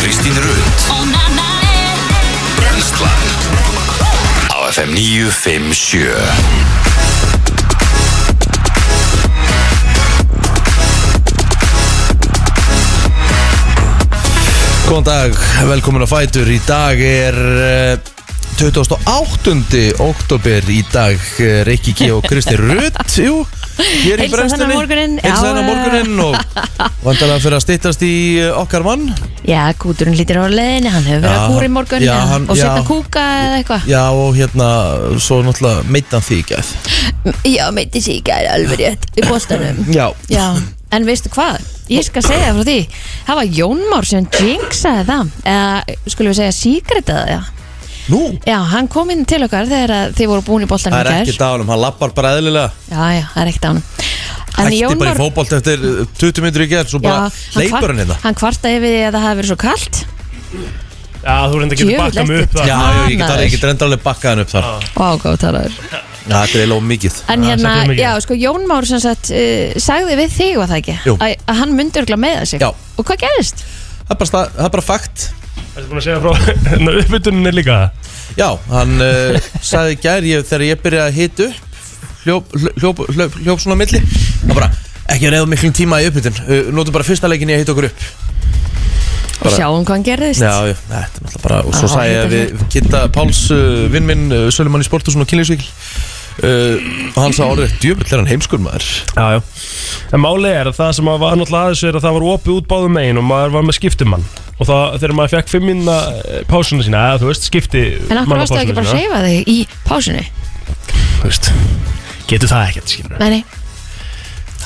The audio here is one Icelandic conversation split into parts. Kristín Rut Brenslan Á FM 957 Góðan dag, velkomin á Fætur Í dag er eh, 28. oktober Í dag eh, Rikki G og Kristi Rutt Jú, hér í Heilsa brenstunni þennan morguninn, já, Heilsa þennan eh. morgunin og vandalega fyrir að styttast í eh, okkar mann Já, kúturinn lítir á leðinni, hann hefur verið Já, að kúra í morgun já, hann- og setja já. kúka eða eitthvað. Já og hérna, svo náttúrulega meittan því ekki að Já, meiti sig í gæri alveg rétt í bóstanum. Já, Já, en veistu hvað? Ég skal segja frá því, það var Jón Már sem jinxaði það, eða skulum við segja síkretaði það. nú Já, hann kom inn til okkar þegar að þið voru búin í bóstanum Það er ekki dánum, hann lappar bara eðlilega Já, já, það er ekkert ánum. En Hætti bara Jón í Már, fótbolt eftir eh, 20 minnur í gerð Svo já, bara hann, leipur hann hérna hann kvartaði við því að það hafi verið svo kalt. Já, þú reynda að geta Djöfull bakka mig ertu upp það Já, já, ég get, Maður. ég get reyndar alveg bakkað hann upp þar Vá, góð talaður. Já, Þetta er eiginlega of mikið En Já, hérna, sættum við mikið. já, sko, Jón Már sem sagt uh, sagði við þig, var það ekki? Jú. Að, að hann myndi örgla með sig Já. Og hvað gerðist? Það er bara, sta- það er bara fakt Það er búin að segja frá hérna, uppbytuninni líka Já, hann uh, sagði í gær ég, þegar ég byrjaði að hita upp hljóp, hljóp, hljóp, hljóp svona á milli og bara, ekki að reyða miklum tíma í uppbytun uh, notum bara fyrsta leikin í að hita okkur upp Og Bara- sjáum hvað hann gerðist Já, já, þetta er náttúrulega bara og svo Já, sagði ég að hita við Kitta Páls, uh, vinn minn, uh, Sölumann í Sportusun og Kynlífsvíkil uh, og hann sagði orðið, djöfull er hann heimskur maður Já, já En máli er að það sem að var náttúrulega aðeins er að það var opið út báðum megin og maður var með skiptumann og það, þegar maður fekk fimm minna eh, pásuna sína, eða þú veist, skipti En okkur varstu ekki bara að hreyfa þig í pásunni? Þú veist, getur það ekkert, skilur Nei, nei,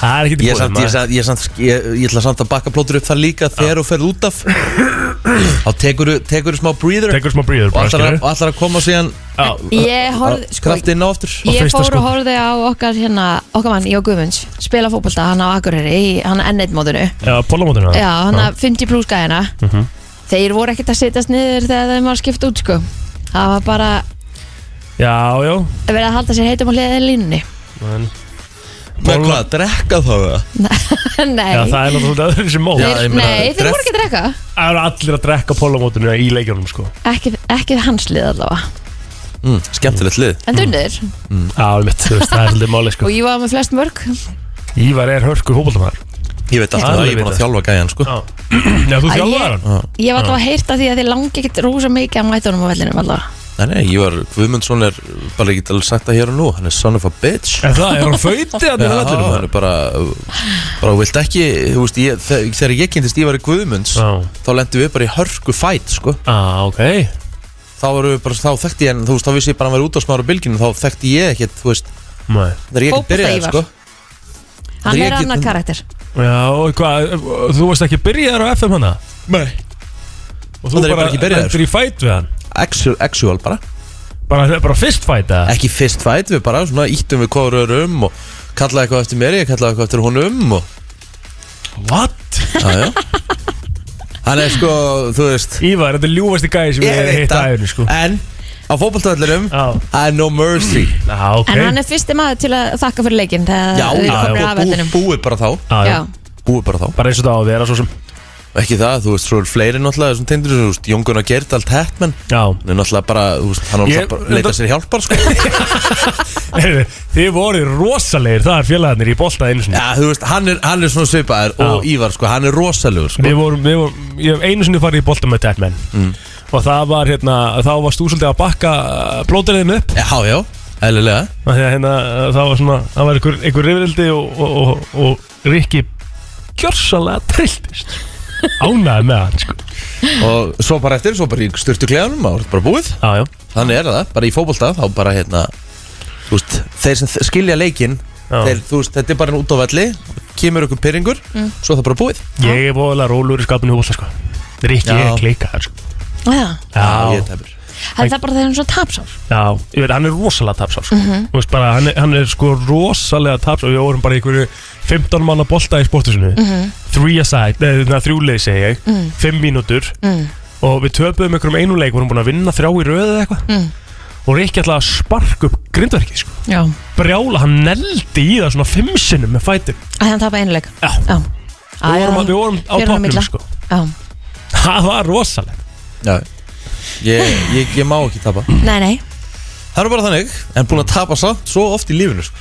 Það er ekkert í Ég, samt, bóðum ég, samt, ég, samt, ég, ég ætla samt að bakka plótur upp þar líka þegar þú ferð út af þá tekur þú smá breather Tekur smá bríður og bara, ætlar að, skilur ætlar að koma síðan Já, ég horfði sko, kraft inn á aftur á Ég fyrsta sko. fór og skot. horfði á okkar hérna Okkar mann, Jó Guðmunds Spila fótbolta, hann á Akureyri Í hann N1-mótinu já Mhm. pólamótinu Já, hann að 50 plus gæðina Þeir voru ekkert að setjast niður Þegar þeim var skipt út, sko Það var bara Já, já verið að halda sér heitum á hliðið línunni en- Með hvað, drekka þá það? Nei, Já, það er náttúrulega öðru sem mót Já. þeir, ég meina, nei, þeir dress- voru ekki að drekka Það eru allir að drekka pólamótinu í leikjónum, sko ekki, ekki hanslið allavega Mm, skemmtilegt lið en dunnir Mm. Já, mitt, þú veist, það er svolítið máli, og sko ég var með flest mörg Æ, Ívar er hörkur hópaldamæður Ég veit alltaf Já, að ég ég er búin veit að þjálfa gæjan sko. Já, Já, þú þjálfaði ég, hann ég var allavega að heyrta því að þið langi ekkert rosa mikið að mæta honum á vellinum allavega Nei, nei, ég var, Guðmundsson er bara ekki alveg sagt það hér og nú Hann er son of a bitch Er það, er hann föytið að Já, það allir hann maður? er bara, bara vilt ekki, þú veist, ég, þe- þegar ég kynntist Ívar Guðmunds Já. þá lendum við bara í hörku fæt sko. Á, ok þá, vorum við bara, þá þekkti ég, en þú veist, þá vissi ég bara að hann var út á smára bylginu þá þekkti ég ekkert, þú veist, Nei. þegar ég ekkert Fótbolta byrjaði Ívar. sko. hann Ég er get- annar karakter Já, og hvað, þú varst ekki byrjaðar á hérna? FM hana? Nei. Og Það er bara ekki byrjaður. endur í fæt við hann? Actual, actual bara Bara, bara fyrst fæt eða? ekki fyrst fæt, við bara svona íttum við hvað við um og kallaði eitthvað eftir mér, ég kallaði eitthvað eftir honum og What? Jájá Hann er sko, þú veist Ívar, þetta er ljúfasti gæði sem ég veit heit það, aðeins, sko En á fótballtöllurum Já. I no mercy Já, ok en hann er fyrsti maður til að þakka fyrir leikinn Já, þegar já, þið komið já af bú, vellinum búið bara þá Já, já. já, Búið bara þá Bara eins og það á að vera svo sem Ekki það, þú veist, svo er fleiri náttúrulega þessum tindur Þú veist, Jón Gunnar Gerdal Tettmann Já Hann er náttúrulega bara, þú veist, hann er Ég- náttúrulega bara að leita sér hjálpar sko. Heyrðu, Þið voru rosalegir, það er félagarnir í bolta einu sinni Já, þú veist, hann er, hann er svona svipaður og Ívar, sko, hann er rosalegur sko. Við vorum, við vorum, ég hef einu sinni farið í bolta með Deadman mm. Og það var hérna, þá varst þú svolítið að bakka blótariðin upp Já, já, eðlilega Af því að hérna, það var svona það var einhver, einhver rifrildi og, og, og, og Rikki kjörsalega trilltist ánæði með hann sko. Og svo bara eftir, svo bara í styrtu kleðanum og bara búið já, já. Þannig er það, bara í fótbolta þá bara hérna Þú veist, þeir sem þ- skilja leikinn Já. þeir, Þú veist, þetta er bara út á velli Kemur okkur pyrringur, svo er það bara búið ég er voðalega rólur í skapinu húsa sko. Rikki Já. er klíkað sko. já. ég já, er tæpur það er það bara þegar hann er svo tapsár já, ég veit, hann er rosalega tapsár sko. Mhm. Þú veist bara, hann, er, hann er sko rosalega tapsár við vorum bara í einhverju 15 manna bolta í sportusinu Mhm. mm -hmm. three aside, neða þrjúleið segi ég 5 mínútur mm. og við töpuðum einhverjum einu leik vorum búin að vinna þrjá í röðu eða eitthvað Mm. og Rikki ætlaði að sparka upp grindverkið sko. já, brjála, hann neldi í það svona fimm sinnum með fætin að hann tapa einu leik Já. já, Við vorum, við vorum á Fjörðan á toppnum milli. sko já. Það var rosalegt Já. Ég, ég, ég má ekki tapa Nei, nei, Það er bara þannig, en búin að tapa samt svo oft í lífinu sko.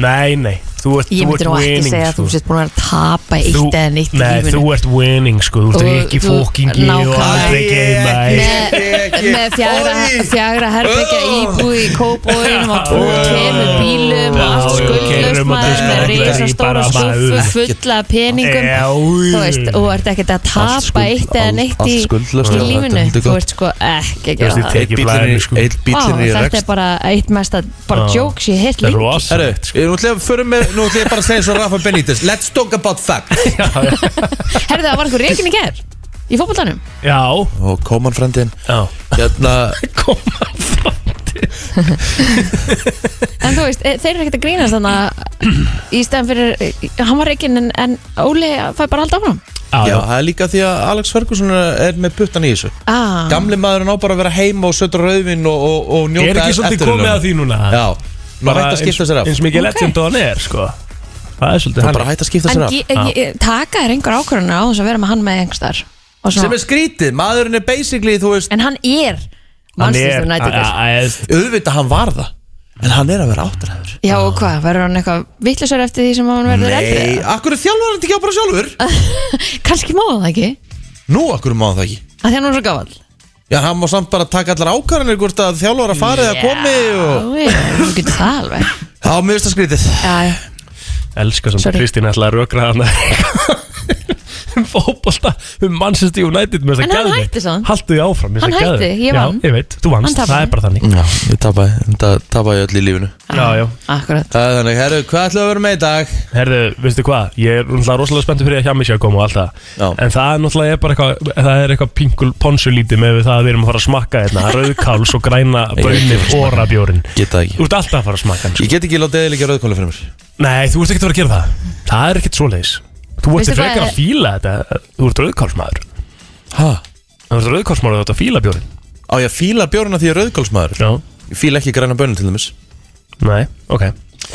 Nei, nei, þú ert, ég þú ert myndi nú ekki winning, segja að sko. þú sett búin að vera að tapa eitt eða neitt í Nei, lífinu þú ert winning sko Þú Og ert ekki þú- fókingi og nákvæmlega. aldrei geima Með, með fjagra, fjagra herbyggja íbúð í kóbúinum og tvo Já, tveimur bílum og já, allt já, skuldlaust keyrum á maður með diskótekið, risa stóra bara skuffu maður. fulla af peningum Já, þú veist, og ert ekkert að Allt tapa skuld- eitt eða allt- neitt allt í, skuldlaust, í já, þetta lífinu er heldur þú gott. ert sko ekki Þú veist, að gera ég tek- það Eitt sko. bíllinn í- eitt Vá, bíllinn í þetta rekst er bara eitt mesta bara Já. jokes ég heilt Það er líka Herru, rosalegt sko. nú ætlum ég að förum með- nú ætlum ég bara að segja svo Rafa Benítez Let's talk about facts herðu það var einhver reikin í ger í fótboltanum Já, Og koman frendin já Hérna, Koma en þú veist, e, þeir eru ekkert að grínast þannig að í stæðan fyrir e, hann var reikin en, en Óli fæ bara alltaf áfram Já, já, já það er líka því að Alex Ferguson er er með puttan í þessu ah. Gamli maðurinn á bara að vera heima og sötra rauðvinn og, og, og njóta e- Er ekki svolítið komið að því núna? Já, nú Bara hætt að skipta eins- sér af Eins mikið Ok. legend og hann er sko Það er svolítið Nú hann bara hætt að skipta en sér af ge- e, e, taka er einhver ákvörðun á þess að vera með hann með einhverstar Sem er skrítið, maðurinn er basically, þú veist en hann er Manchester United að- að- að- Auðvitað hann var það En hann er að vera áttræður já og hvað, verður hann eitthvað vittlisar eftir því sem hann verður Nei, eldri akkur er þjálfur hann ekki á bara sjálfur kannski má hann það ekki Nú akkur má það ekki að því hann er svo gafall Já, hann má samt bara taka allar ákvarðanir hvort að þjálfur að fara eða komi og... þú getur það alveg Já, mér finnst það skrítið já, já. Elskar samt Sorry. að Kristín ætlaði að rökra hann um fótbolta um Manchester United með þess En að hann hætti samt. Haltu því áfram mér finnst Hann það hætti, geðveikt. ég vann. Já, ég veit, þú vannst, Hann það tapaði. er bara þannig Já, ég tapaði, þetta tapaði öll í lífinu Já, já, Ah, akkurat Það er þannig, herru, hvað ætlum við að vera með í dag? herðu, veistu hvað Ég er náttúrulega rosalega spenntur fyrir að hjá mig sé að koma og allt Já. það En það er náttúrulega er bara eitthvað Það er eitthvað pinkul ponsulítið með það að við erum að fara að smakka hérna Rauðkáls og græna Ég er ekki að fara að smakka. Geta það brunni orabjórin ekki Þú ert alltaf að fara að smakka hann sko. Ég get ekki látið eða líka rauðkóla fyrir mér Nei, þú ert ekkert að fara að gera það Það er ekkert svoleiðis Þú ert Veistu hvað frekar er- að fíla þetta Þú ert rauðkálsmaður Hæ? Þú ert rauðkálsmaður og þú ert að fíla bjórin Á ég fíla bjórna því ég er rauðkólsmaður Já, Ég fíla ekki græna bönnu til dæmis nei, ok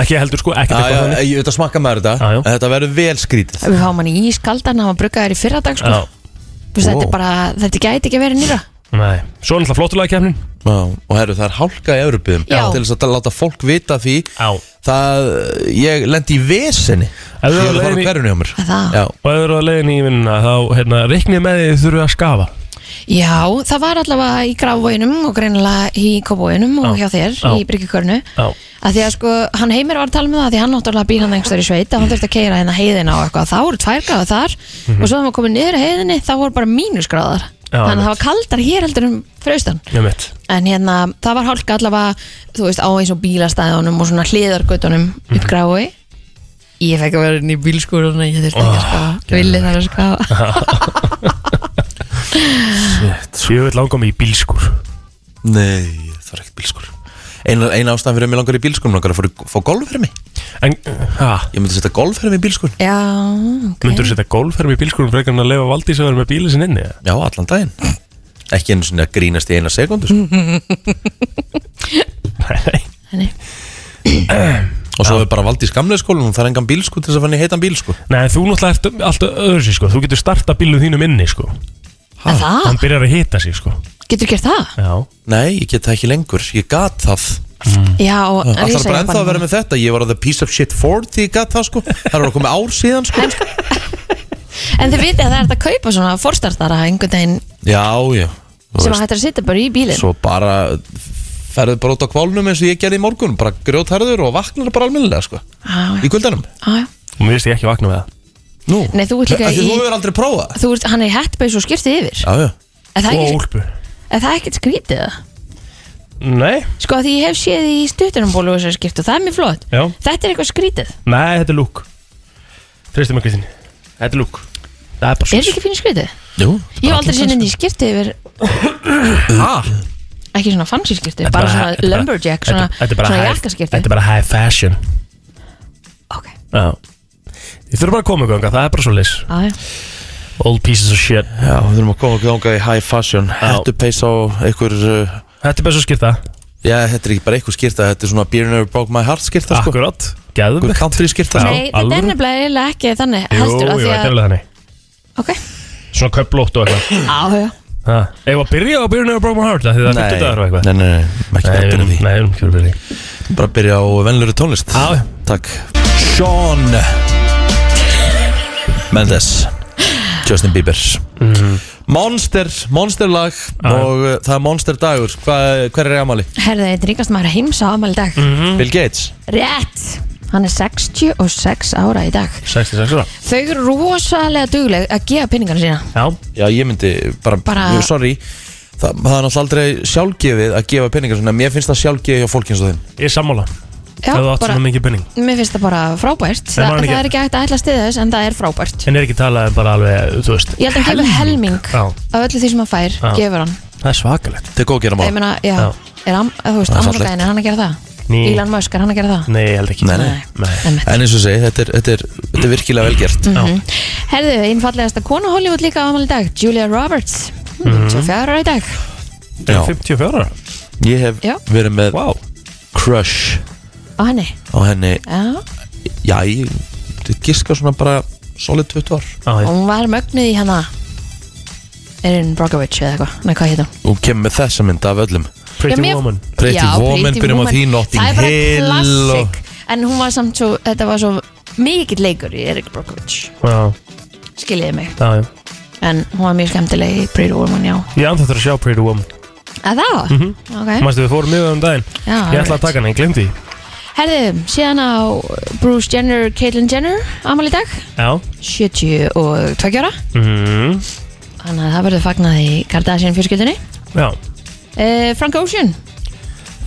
Ekki heldur sko, ekkert Já, já, eitthvað þannig Ég veit að smakka maður þetta Já, já. En þetta verður vel skrítið við fáum hann í ískaldan, hann var bruggaður í fyrradag sko. Já, Þú veist, þetta, Ó. er bara, þetta gæti ekki verið nýra nei Svo er náttúrulega flottulega kemnin Já, og herru, það er hálka í Európiðum Já. Til þess að láta fólk vita því Já Það, ég lendi í vesenni Ef Ég þú er að fara leiðin úr í- hverjunni hjá mér Að það? Já, Og ef þú eru að leiðin í vinnuna Þá, hérna, reiknið með því þurfu að skafa Já, það var allavega í gráfvóginum og greinilega í kóbóginum og Já. hjá þér Já. í Bryggjukörnu Já að því að sko, hann heimir var að tala með það að því hann náttúrulega býr hann einhverstað í sveit að hann þurfti að keira hérna heiðina og eitthvað þá voru tvær gráður þar Mhm. og svo þegar maður komið niður að heiðinni þá voru bara mínusgráðar Já, þannig að það einmitt. var kaldar hér heldur um fraustan Ég mitt en hérna, það var hálka allavega þú veist, á eins og bílastæðunum og svona hliðargötunum Mhm. upp grái ég fekk að vera inn í bílskúru þannig að ég þurfti ekki að skafa, villi þar að skafa Ég vil langa mig í bílskur nei, það var ekkert bílskur Einu, einu ástæðan fyrir að mér langar í bílskur Mér langar að fara í- fá golf fyrir mig En, ha, Ég myndi setja golf fyrir mig í bílskur Já, ok myndur þú setja golfherm í bílskurum frekar en að lefa valdís að vera með bílinn sinn inni? eða? Já, allan daginn Ekki einu svona að grínast í eina sekundu sko. Nei, Þannig. Og svo er bara valdið í skamlega skólanum Það er engan bíl sko til þess að fann ég heitan bíl sko Nei, en þú náttúrulega ert alltaf öðru sér sko Þú getur starta bílum þínum inni sko En það, Hann byrjar að hita sig sko getur gert það? Já Mm. Nei, ég get það ekki lengur, ég gat það Já, en ég Allar segi bara ennþá bara að vera með þetta Ég var að the piece of shit Ford því ég gat það sko Það er að koma ár síðan sko En þið vitið að það er hægt að kaupa svona forstartara einhvern veginn Já, já Þú sem að veist, hægt er að sitja bara í bílinn Svo bara ferðu bara út á kválnum eins og ég gerði í morgun Bara grjótharður og vaknar bara almennilega sko Á, Ah, já, Í kuldanum á, já. Mér finnst ég ekki vakna með það Nú, Nei, þú ert líka Af því í- Þú hefur aldrei prófað Þú ert, hann er í hættbeis og skýrtið yfir Já, já Er það Og ekkert- úlpu er það ekkert skrítið það? Nei Sko að því ég hef séð í stuttunumból og þessar skýrt og það er mjög flott Já Þetta er eitthvað skrítið Nei, þetta er lúk Treystum að Kristín Þetta er lúk Það er bara Er svo þetta ekki fyrir skrítið? Jú, Ég hef aldrei sinni í skýrtið yfir Hæ? ekki svona fancy skýrtið, bara svona lumberjack svona, svona jakkaskýrtið Þetta er bara high fashion Ok, Já Þið þurfum bara að koma ykkur þangað, Það er bara svo leys á, já. Old pieces of shit Já, við þurfum að koma okkur þangað í high fashion Hættupeysa og einhver uh, Þetta er bara svo skipta Já, þetta er ekki bara einhver skýrta Þetta er svona Beer Never Broke My Heart skýrta sko. Akkurat Gæðum Einhver country skýrta sko. Já. Nei, þetta er alveg. nefnilega eiginlega ekki þannig Jú, jú, heldur að þetta því er að alveg þannig Ok, svona köplótt og eitthvað Já, já Ha, Eigum við að byrja á byrjunum á Broken My Heart af Því það er 50 dagar og eitthvað nei, nei, nei, ekki Nei, betur en við- því nei, við erum ekki að byrja því. Bara byrja á venlur tónlist Já, já. Takk Sean Mendes Justin Bieber Mhm. Monster, monster lag og uh, það er monster dagur Hva, Hver er Amali? Herðu, þetta er ríkast maður að heimsa ámæli í dag Mhm. Bill Gates Rétt Hann er 66 ára í dag 66 ára Þau eru rosalega dugleg að gefa peningana sína Já, Já, ég myndi bara, Bara- Jú, sorry Þa, það er náttúrulega aldrei sjálfgefið að gefa peningar svona, mér finnst það sjálfgefið hjá fólk eins og þeim ég er sammála Já, Það átt bara, svona mikið penning mér finnst það bara frábært Þa, maður Það ekki- er ekki hægt að ætla stiða þess en það er frábært En er ekki talað um bara alveg, þú veist Ég held að hann gefur helming Já. af öllu því sem hann fær, Já. gefur hann Það er svakalegt Þau góð gera Ég mál meina, já, Já. er hann, þú veist, Það er Amazon-gæðin, er hann að gera það? Ný. Elon Musk, er hann að gera það? Nei, ég held ekki Nei, nei. nei. Einmitt. Mhm. En eins og ég segi, þetta er, þetta er, þetta er virkilega velgjert Herðu, einfallegasta konu Hollywood líka á afmæli í dag, Julia Roberts Mhm. 24 ára í dag Er Já. 54 ára? Ég hef Já. verið með Vá crush á henni á henni Já, Já, ég ég giska svona bara solid 20 ár Já, já. hún var mögnuð í hana Erin Brockovich eða eitthvað, nei hvað hétt hún? Hún kemur með þessa mynd af öllum Pretty Já, mér- Woman Pretty Já, Woman, byrjum á Woman. því, Notting Það er bara Hill og- klassik En hún var samt svo, þetta var svo mikill leikur í Erik Brockovich Já, Skiljiði mig já, já En hún var mjög skemmtileg í Pretty Woman, já Ég andþáttur að sjá Pretty Woman Að það? Mm Mhm. Ok Mæstu við fórum mjög um daginn Já, Ég ætla að taka hana, ég glemdi Herðu, síðan á Bruce Jenner, Caitlyn Jenner Amal í dag, Já 72 ára mm. Þannig að það verður fagnað í Kardashian fjörskildinni Já uh, Frank Ocean,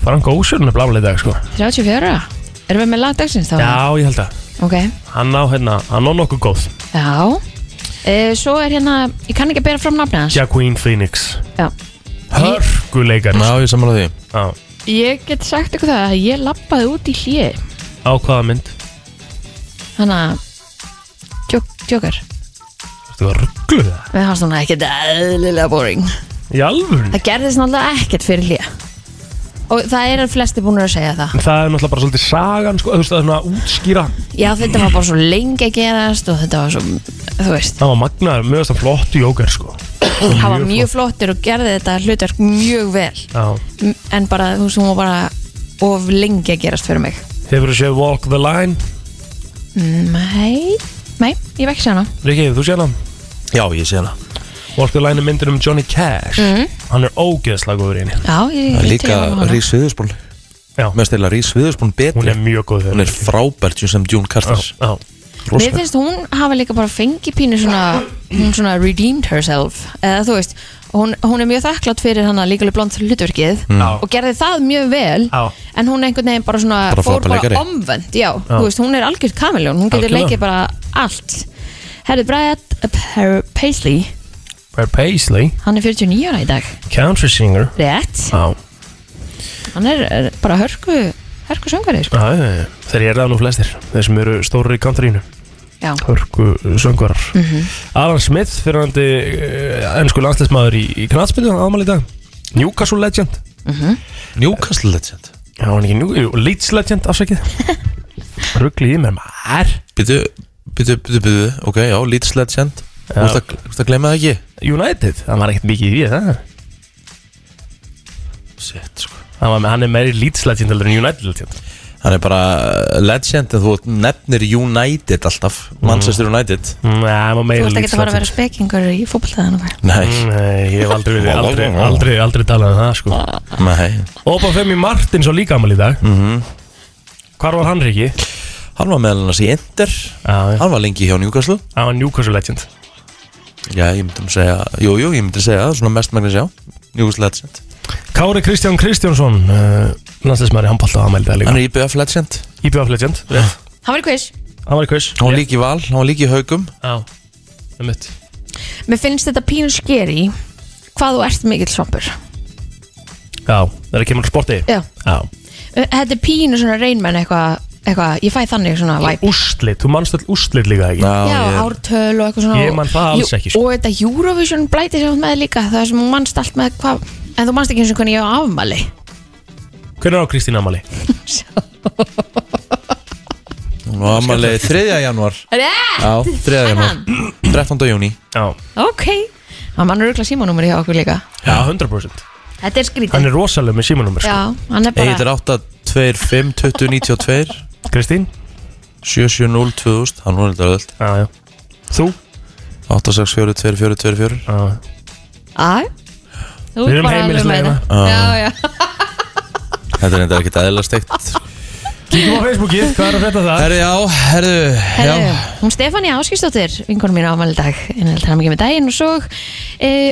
Frank Ocean er blálega í dag sko 34 ára Erum við með lagdagsins þá? Já, ég held að Ok, Hann á hérna, hann á nokkuð góð já uh, Svo er hérna, ég kann ekki að bera fram nafni hans Jacqueline Phoenix Já. Hörguleikar Já, ég samanlega því Já, Ég get sagt ykkur það að ég lappaði út í hlje á hvaða mynd Þannig að Djók- Djókar, Þetta var ruggluð það við hans núna ekkert eðlilega boring Í alvörun Það gerðist náttúrulega ekkert fyrir hlje Og það eru flesti búin að segja það Það er náttúrulega bara svolítið sagan sko Þú veist það er svona að útskýra Já, þetta var bara svo lengi að gerast og þetta var svo, þú veist Það var magnaður, mjög það flott jóker sko Það var mjög flottir og gerði þetta hlutverk mjög vel Já M- En bara, þú veist, hún var bara of lengi að gerast fyrir mig Hefur þú séð Walk the Line? Nei, nei, ég hérna. hef ekki séð hana Rikki, þú séð hann? Já, ég sé hana Walk the Line er myndin um Johnny Cash Hann er ógeðslega góður í henni Mhm. Já, ég Það hérna. er veit líka ekki hana. Rís Viðurspún Já, Mér stila Rís Viðurspún betri hún er mjög góð þegar Hún er frábært jú sem June Carter Já, Mér finnst hún hafa líka bara fengið pínu svona, hún svona redeemed herself eða þú veist, hún, hún er mjög þakklátt fyrir hana líkulega blond hlutverkið Já. og gerði það mjög vel Já. en hún einhvern veginn bara svona Bara fór floppaleikari. bara omvend, já, Já. þú veist, hún er algjörð kamiljón, hún getur Algjörlega. leikið bara allt Herri Brad Per- Paisley, Brad Paisley, hann er 49 ára í dag country singer rétt, Já, hann er er bara hörku hörku söngari, sko, já, já, já. þeir eru það nú flestir Þeir sem eru stórir í countryinu já Mhm. Hörku söngvarar Alan Smith, fyrirhandi uh, ennsku landslæsmaður í, í knatspildu ámæli í dag Newcastle legend Newcastle Legend Já, hann ekki New, jú, Leeds legend afsækið Ruggli í mér maður Býtu, býtu, býtu, býtu Ok, já, Leeds Legend Þú Já. ert að- þú ert að glemma það ekki United, hann var ekkert mikið í því það Sitt, sko Hann, var, með- hann er meiri Leeds legend heldur en United legend Hann er bara uh, legend en þú nefnir United alltaf Manchester United Nei, Mm. hann var meiri Þú ert Leeds ekki að fara að legend vera Mm, spekingur í fótboltaðan og Nei, Nei, ég hef aldrei, verið- aldrei, aldrei, aldrei talað um það sko nei Mhm. Opa Femi Martins á líka amal í dag Hvar var hann Riki? Hann var meðal annars í Inter Já, já. Hann var lengi hjá Newcastle Hann var Newcastle legend Já, ég myndi að segja Jú, jú, ég myndi að segja Svona mest magnis já Newcastle Legend Kári Kristján Kristjánsson uh, Landsleismæri handbólta á amal í dag líka Hann er IBF Legend IBF E legend rétt. Hann var í quiz Hann var í kvöss Hann var líka í Val Hann var líka í Haugum Já, það mitt Mér finnst þetta pínu skeri hvað þú ert mikill svampur Já, það er að kemur á sporti Já. Já Þetta er pínu svona reynmenn eitthvað eitthva, ég fæ þannig svona væp Úrslit, þú manst all úrslit líka ekki Já, ártöl og eitthvað svona Ég man það alls Jú, ekki, sko. Og þetta Eurovision blæti sem þú ert með líka það sem þú manst allt með hvað en þú manst ekki eins og hvernig ég á afmæli Hvernig er á Kristín Amali? og ammali 3. janúar Rétt! Já, 3. janúar 13. júni Já, Ok Hann mannur auðvitað símanúmeri hjá okkur líka já 100% Þetta er skrítið Hann er rosalega með símanúmer sko. Já, hann er bara Egil er 8, 2, 5, 20, 92 Kristín? 7, 7, 0, 2000 Hann var eitthvað öll Já, já Þú? 8, 6, 4, 2, 4, 2, 4 Já, Æ Þú Við erum sko. ert bara alveg með heimilislega. þetta Já, já Þetta er eitthvað ekkert eðla steikt Kíkjum á Facebookið, hvað er að frétta það? Herri, já, herru Herðu, Já, hún Stefania Áskistóttir, vinkonum mín ámæli dag innhald hann mikið með daginn og svo e,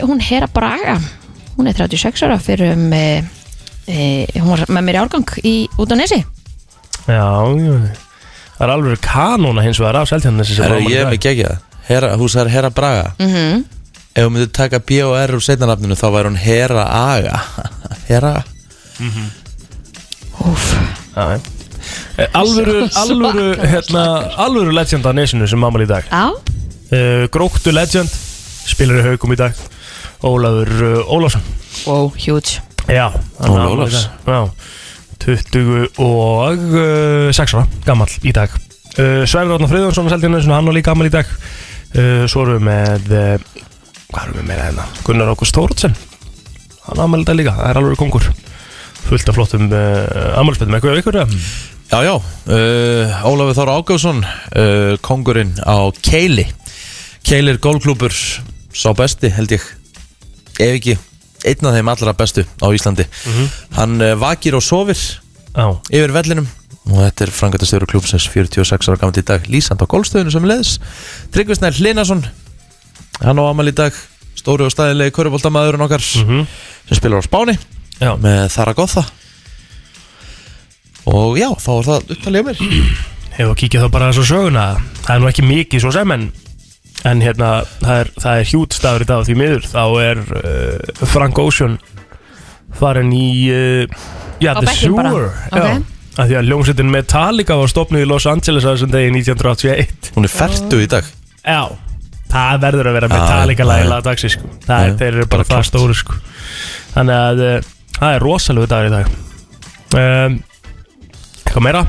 hún Hera Braga hún er 36 ára fyrir um e, e, hún var með mér í árgang í út á nesi Já, já Það er alveg kanóna hins vegar af Seltjarnesi sem herru, ámæli ég er dag. með gegja Hera, hún sagði Hera Braga Mm-hmm. Mhm. Ef hún myndi taka B og R úr seinanafninu þá væri hún Hera Aga Hera Úf, Já, já. Eh, Alvöru, alvöru, hérna, alvöru legend að nesinu sem ámæli í dag á, uh, Gróktu legend spilar í haugum í dag Ólafur uh, Ólafsson wow, huge Já, hann Óli er afmæli í Ólafs. dag. Já, 26 ára, gammal í dag uh, Svæfur Átna Friðjónsson Seltjarnar, hann var líka gammal í dag uh, Svo erum við með uh, Hvað erum við með hérna? Gunnar Ákust Þórtsen Hann afmæli í dag líka, það er alveg kongur Fullt af flottum uh, afmælisbættum Eitthvað ykkur eða? Já, já, uh, Ólafur Þóra Ágjáfsson, uh, kongurinn á Keili Keili er gólklúpur, sá besti held ég Ef ekki, einn af þeim allra bestu á Íslandi Mhm. Hann uh, vakir og sofir Já, yfir vellinum Og þetta er frangatastjóru klúpsins 46 ára gamalt í dag Lýsand á gólstöðinu sem leðis Tryggvisnær Hlinason, hann á amal í dag Stóri og staðilegi köruboltamaðurinn okkar Mhm. Sem spilar á Spáni já, með Zaragoza Og já, þá er það upptalið á mér Ef að kíkja þá bara þess að söguna Það er nú ekki mikið svo sem en En hérna, það er, það er hjút staður í dag og Því miður, þá er uh, Frank Ocean Farin í uh, Já, Á The bekkinn bara, Sewer ok. Já, að því að ljómsveitin Metallica var stopnuð í Los Angeles á þessum degi 1981 Hún er ferdu í dag Já, það verður að vera Já, Metallica já, já. lægilega dagsins sko. Það er, Já, þeir eru bara bara það klárt. stóru sko. Þannig að uh, það er rosalegu dagur í dag um, Eitthvað meira?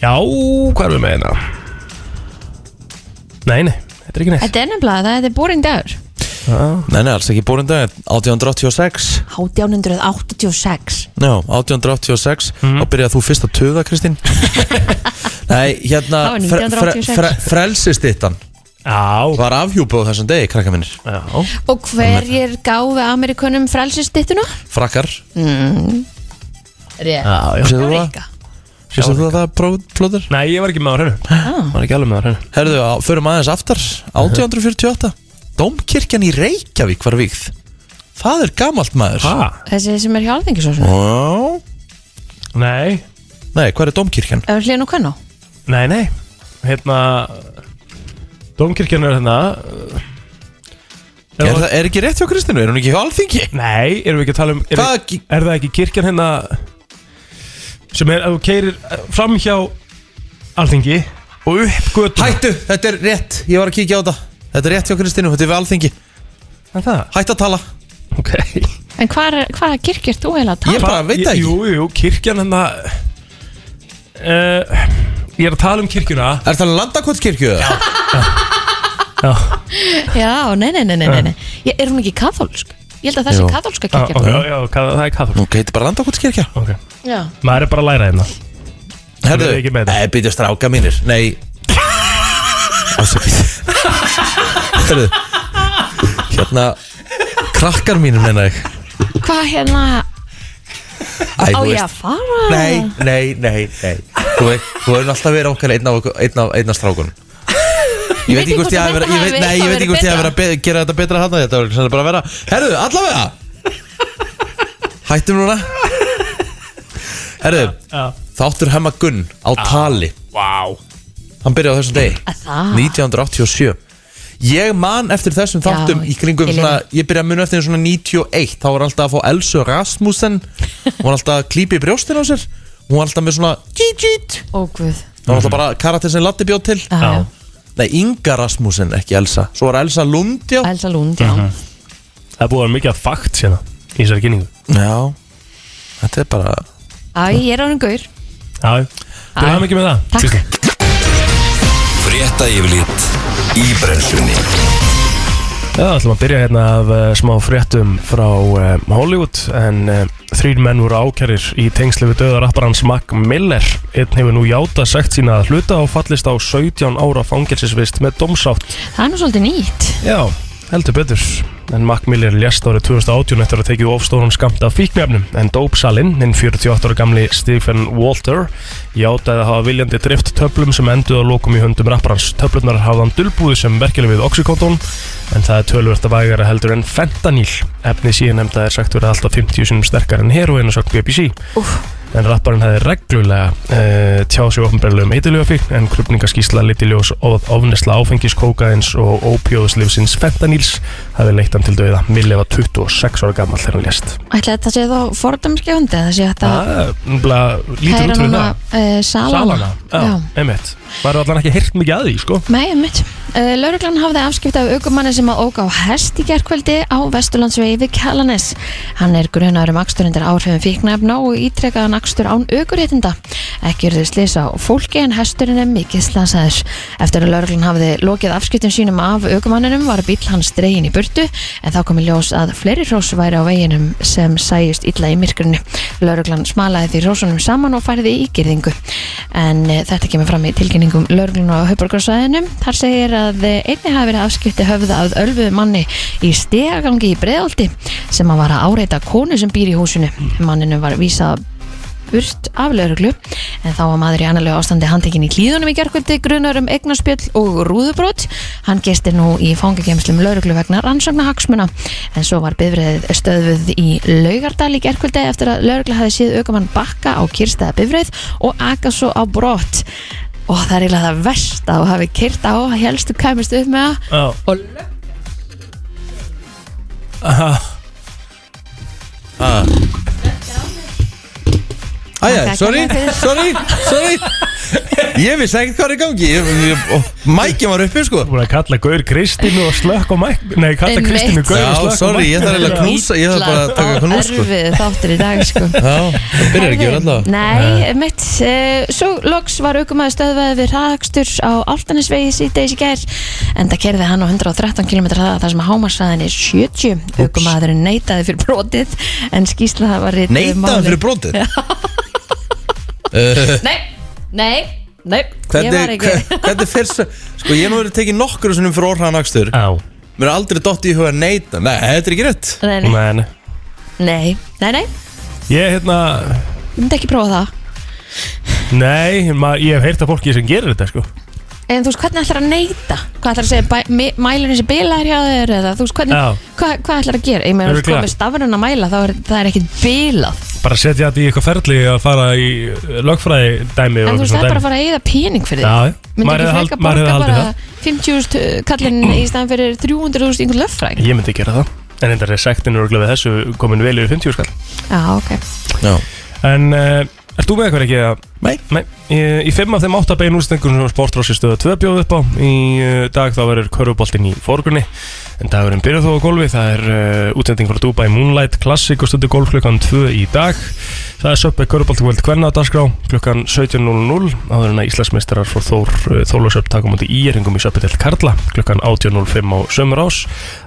Já, hvað erum við með hérna? Nei, nei, þetta er ekki neitt Þetta er nefnilega, það þetta er boring dagur Já, Nei, nei, alls ekki búin dag 1886 1886 Já, 1886 Mhm. Þá byrjaði þú fyrst að töða, Kristín Nei, hérna Það var 1986. Frelsistittan já, var afhjúpað á þessum degi, krakka minnir já. Og hverjir gáfi Amerikunum frælsistittuna? Frakkar, Mm. Rétt Já, já. sér þú það? Rika. Sér þú það próf- plóður? Nei, ég var ekki með á hreinu Var ekki alveg með á hreinu Herðu, á- förum aðeins aftar 1848 Dómkirkjan í Reykjavík var vígð Það er gamalt maður Ha? Þessi sem er hjá alþengisósum Ó, Nei, Nei, hvað er Dómkirkjan? Hlinn og Kvennó nei, nei Hérna Dómkirkjan er hérna Er, það, er ekki rétt hjá Kristínu? Er hún ekki hjá alþingi? Nei, erum við ekki að tala um Er, Hvað ekki- er það ekki kirkjan hérna sem er að þú eh, keirir fram hjá alþingi og upp götu Hættu, þetta er rétt, ég var að kíkja á þetta Þetta er rétt hjá Kristínu, þetta er við alþingi Er það? Hættu að tala Ok En hvað hvaða kirkjur þú heila að tala? um? Ég bara veit það ekki Jú, jú, jú, kirkjan hérna uh, Ég er að tala um kirkjuna Er það landakotskirkju? Já Já, Já, nei, nei, nei, nei, nei, nei. Ég, Er hún ekki katholsk? Ég held að það sé Jú. Ah, katholska já, kirkja já, já ka- það er kathol Hún heitir bara landakotskirkja Ok Já, Maður er bara að læra hérna Herðu, er ekki með þetta. nei, byrju stráka mínir Nei Ásakið Herðu Hérna, krakkar mínir menna ég hvað hérna Æ, á þú ég veist- að fara? Nei, nei, nei, nei Þú veist, þú hefur alltaf verið okkar einn af, okkur- einn af, einn af strákunum Ég veit ekki hvort ég hafi verið ég veit- Nei, ég veit ekki hvort ég hafi verið að be- gera þetta betra hann Þetta var sennilega bara að vera Herðu, allavega Hættum núna Herðu, Já Ah, þáttur hemma Gunn á tali Vá Hann byrjaði á þessum degi Að það? 1987 Ég man eftir þessum Já, þáttum í kringum ég svona, ég byrja að muna eftir svona 91 þá var alltaf að fá Elsu Rasmussen hún var alltaf að klípa í brjóstin á sér hún var alltaf með svona gít gít Ó, guð það var Mhm. alltaf bara karakter sem Latti bjóð til Já, já. Já. Nei, Inga Rasmussen, ekki Elsa Svo var Elsa Lund, já Elsa Lund, já Mhm. Það er búið að vera mikið að fakt sérna í þessari kynningu Já, þetta er bara Æ, ég er á hún gaur Já, þú Æ. hafa mikið með það Takk. Kristín. Frétta yfirlit í brennslunni Já, ætlum að byrja hérna af uh, smá fréttum frá uh, Hollywood en uh, þrýr menn voru ákærir í tengslu við döða rapparans Mac Miller einn hefur nú játa sagt sína að hluta og fallist á 17 ára fangelsisvist með domsátt Það er nú svolítið nýtt Já, heldur betur en Mac Miller lést árið 2018 eftir að tekið ofstóran skamt af fíknefnum en dópsalinn, hinn 48 ára gamli Stephen Walter játaði að hafa viljandi drift töflum sem enduð að lokum í höndum rapparans töflunar hafðan dulbúði sem verkefni við Oxycontin en það er tölvöld að vægara heldur en fentanyl. Efni síðan nefnda er sagt verið alltaf 50 sinum sterkar en heroin og sagt BBC. Úff. En rapparinn hefði reglulega uh, tjáð sér ofnbærlega um eitiljófík en krupningaskísla liti ljós of ofnesla áfengis kókaðins og ópjóðslifsins fentanyls hefði leitt hann til dauða. Milli var 26 ára gammal þegar hann lést. Ætli þetta sé þá fordæmskefandi Það sé hægt að Það nefnilega lítur út fyrir það. uh, Salana, Salana, já, Já. einmitt. Var allan ekki hirt mikið að því, sko? Nei, einmitt. Uh, Lauruglan hafði afskipt af aukumanni sem að óka á hest í gerkveldi á Vesturlandsvegi við Kalanes. Hann er grunaður um akstur undir áhrifum fíknefna og ítrekkaðan akstur án aukuréttinda. Ekki eru þau slisa á fólki en hesturinn er mikið slasaður. Eftir að lauruglan hafði lokið afskiptum sínum af aukumanninum var bíl hans dregin í burtu en þá kom í ljós að fleiri hrós væri á veginum sem sæjust illa í myrkurinu. Lauruglan smalaði því hrósunum saman og færði í gerðingu. En eh, þetta kemur fram í tilkynningum lauruglan á höfborgarsvæðinu. Þar segir að eh, einni hafi verið afskipti höfða að ölfuðu manni í stegagangi í breðaldi sem að var að áreita konu sem býr í húsinu. Manninu var vísað burt af lauruglu en þá var maður í annarlega ástandi handtekinn í klíðunum í gerkvöldi grunar um eignarspjöll og rúðubrót hann gestir nú í fangakemslum lauruglu vegna rannsókna hagsmuna en svo var bifrið stöðuð í laugardal í gerkvöldi eftir að laurugla hafi séð aukamann bakka á kyrstaða bifrið og aka svo á brott og það er eiginlega það verst að þú hafi kyrt á helstu kæmist upp með það Já. og Ah. Æja, sorry, Þakka þér sorry, sorry Ég vissi ekkert hvað er í gangi Ég- ég- og Mækin var uppi sko Búin að kalla Gaur Kristínu og Slökk og Mæk Nei, kalla Einmitt. Kristínu Gaur og Já, Slökk og sorry, Mæk ég þarf eiginlega að knúsa Ég þarf bara að taka eitthvað núr sko erfið þáttur í dag sko Já, það byrjar ekki verið allavega Nei, mitt uh, Svo loks var aukumæður stöðvaði við hraðakstur á Altanesvegi síðdeis í gær en það kerði hann á 113 km hraða þar sem að hámarsraðin er 70 aukumæðurinn neitaði fyrir brotið en skýsla það var um rétt Neitaðan fyrir brotið Uh, Nei, nei, nei Ég var Hvernig, ekki hve- hvernig fyrir Sko, ég hef nú verið tekið nokkru sinnum fyrir orðan akstur Á, Mér er aldrei dott í huga að neita Nei, þetta er ekki rétt Nei, nei, nei, nei nei, nei, nei. Ég, hérna, ég myndi ekki prófa það nei, ma, ég hef heyrt af fólki sem gerir þetta, sko En þú veist, hvernig ætlar að neita? Hvað ætlar að segja, bæ- mi- mælurinn sem bilaðir hjá þér eða þú veist, Já. hvernig, hvað, hvað ætlar að gera? Ég meina, þú veist, Örugglega. hvað með stafrunna mæla, þá er, það er ekkit bilað Bara setja þetta í eitthvað ferli að fara í eh, lögfræði dæmi En þú veist, það er bara að fara að eyða pening fyrir því Já, já. Myndi Maður ekki hefði freka hald- maður borga hefði bara haldið 50.000 kallinn í staðan fyrir 300.000 yngur löffræk Ég myndi gera það En þetta er sektin og við þessu komin vel yfir sko. 50 skall Já, ok Já En uh, ert þú með eitthvað ekki að Nei. Í, í fimm af þeim átta bein útstengur sem sportrósi stöða tvö bjóð upp á Í uh, dag þá verður körfuboltinn í forgrunni En dagurinn byrjar þó á golfi Það er uh, útsending frá Dubai Moonlight Classic og stundu golf klukkan 2 í dag Það er söpbeg körfuboltingvöld hvernig að dagskrá klukkan 17.00 áður en að Íslandsmeistarar fór Þór eh, Þólusöp takum átti íeringum í söpbetill Karla klukkan 18.05 á sömur ás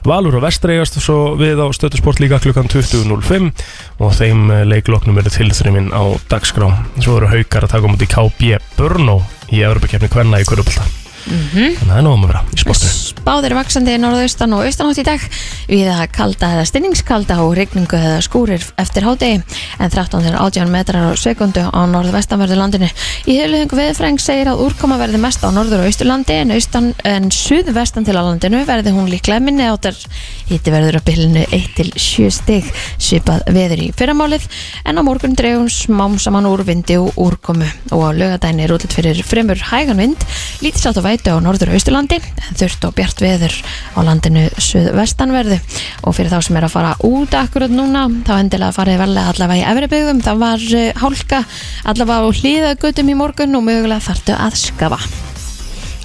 Valur og Vestreigast svo við á stöðusport líka klukkan 20.05 og þeim eh, leikloknum eru tilþryminn á dagskrá svo eru haukar að taka um átti KB Brno í Evropakefni hvernig í körfubolta Mhm. Þannig að það er nóg um að vera í sportu Spáðir vaksandi norðaustan og austanátt í dag Við að kalda eða stinningskalda og rigningu eða skúrir eftir hádegi en 13 til 18 metrar á sekundu á norðvestanverðu landinu Í heiluðingu viðfræng segir að úrkoma verði mest á norður og austurlandi en, austan, en suðvestan til á landinu verði hún líklega minni áttar Hitti verður á bylunu 1 til 7 stig svipað veður í fyrramálið en á morgun dreifum smám saman úr vindi og úrkomu og á lögadæni er útlitt fyrir fremur hægan vind lítið sátt og vætu á norður og austurlandi en þurft og bjart veður á landinu suðvestanverðu og fyrir þá sem er að fara út akkurat núna þá endilega farið verlega allavega í efri byggum það var eh, hálka allavega á hliðagötum í morgun og mögulega þartu að skafa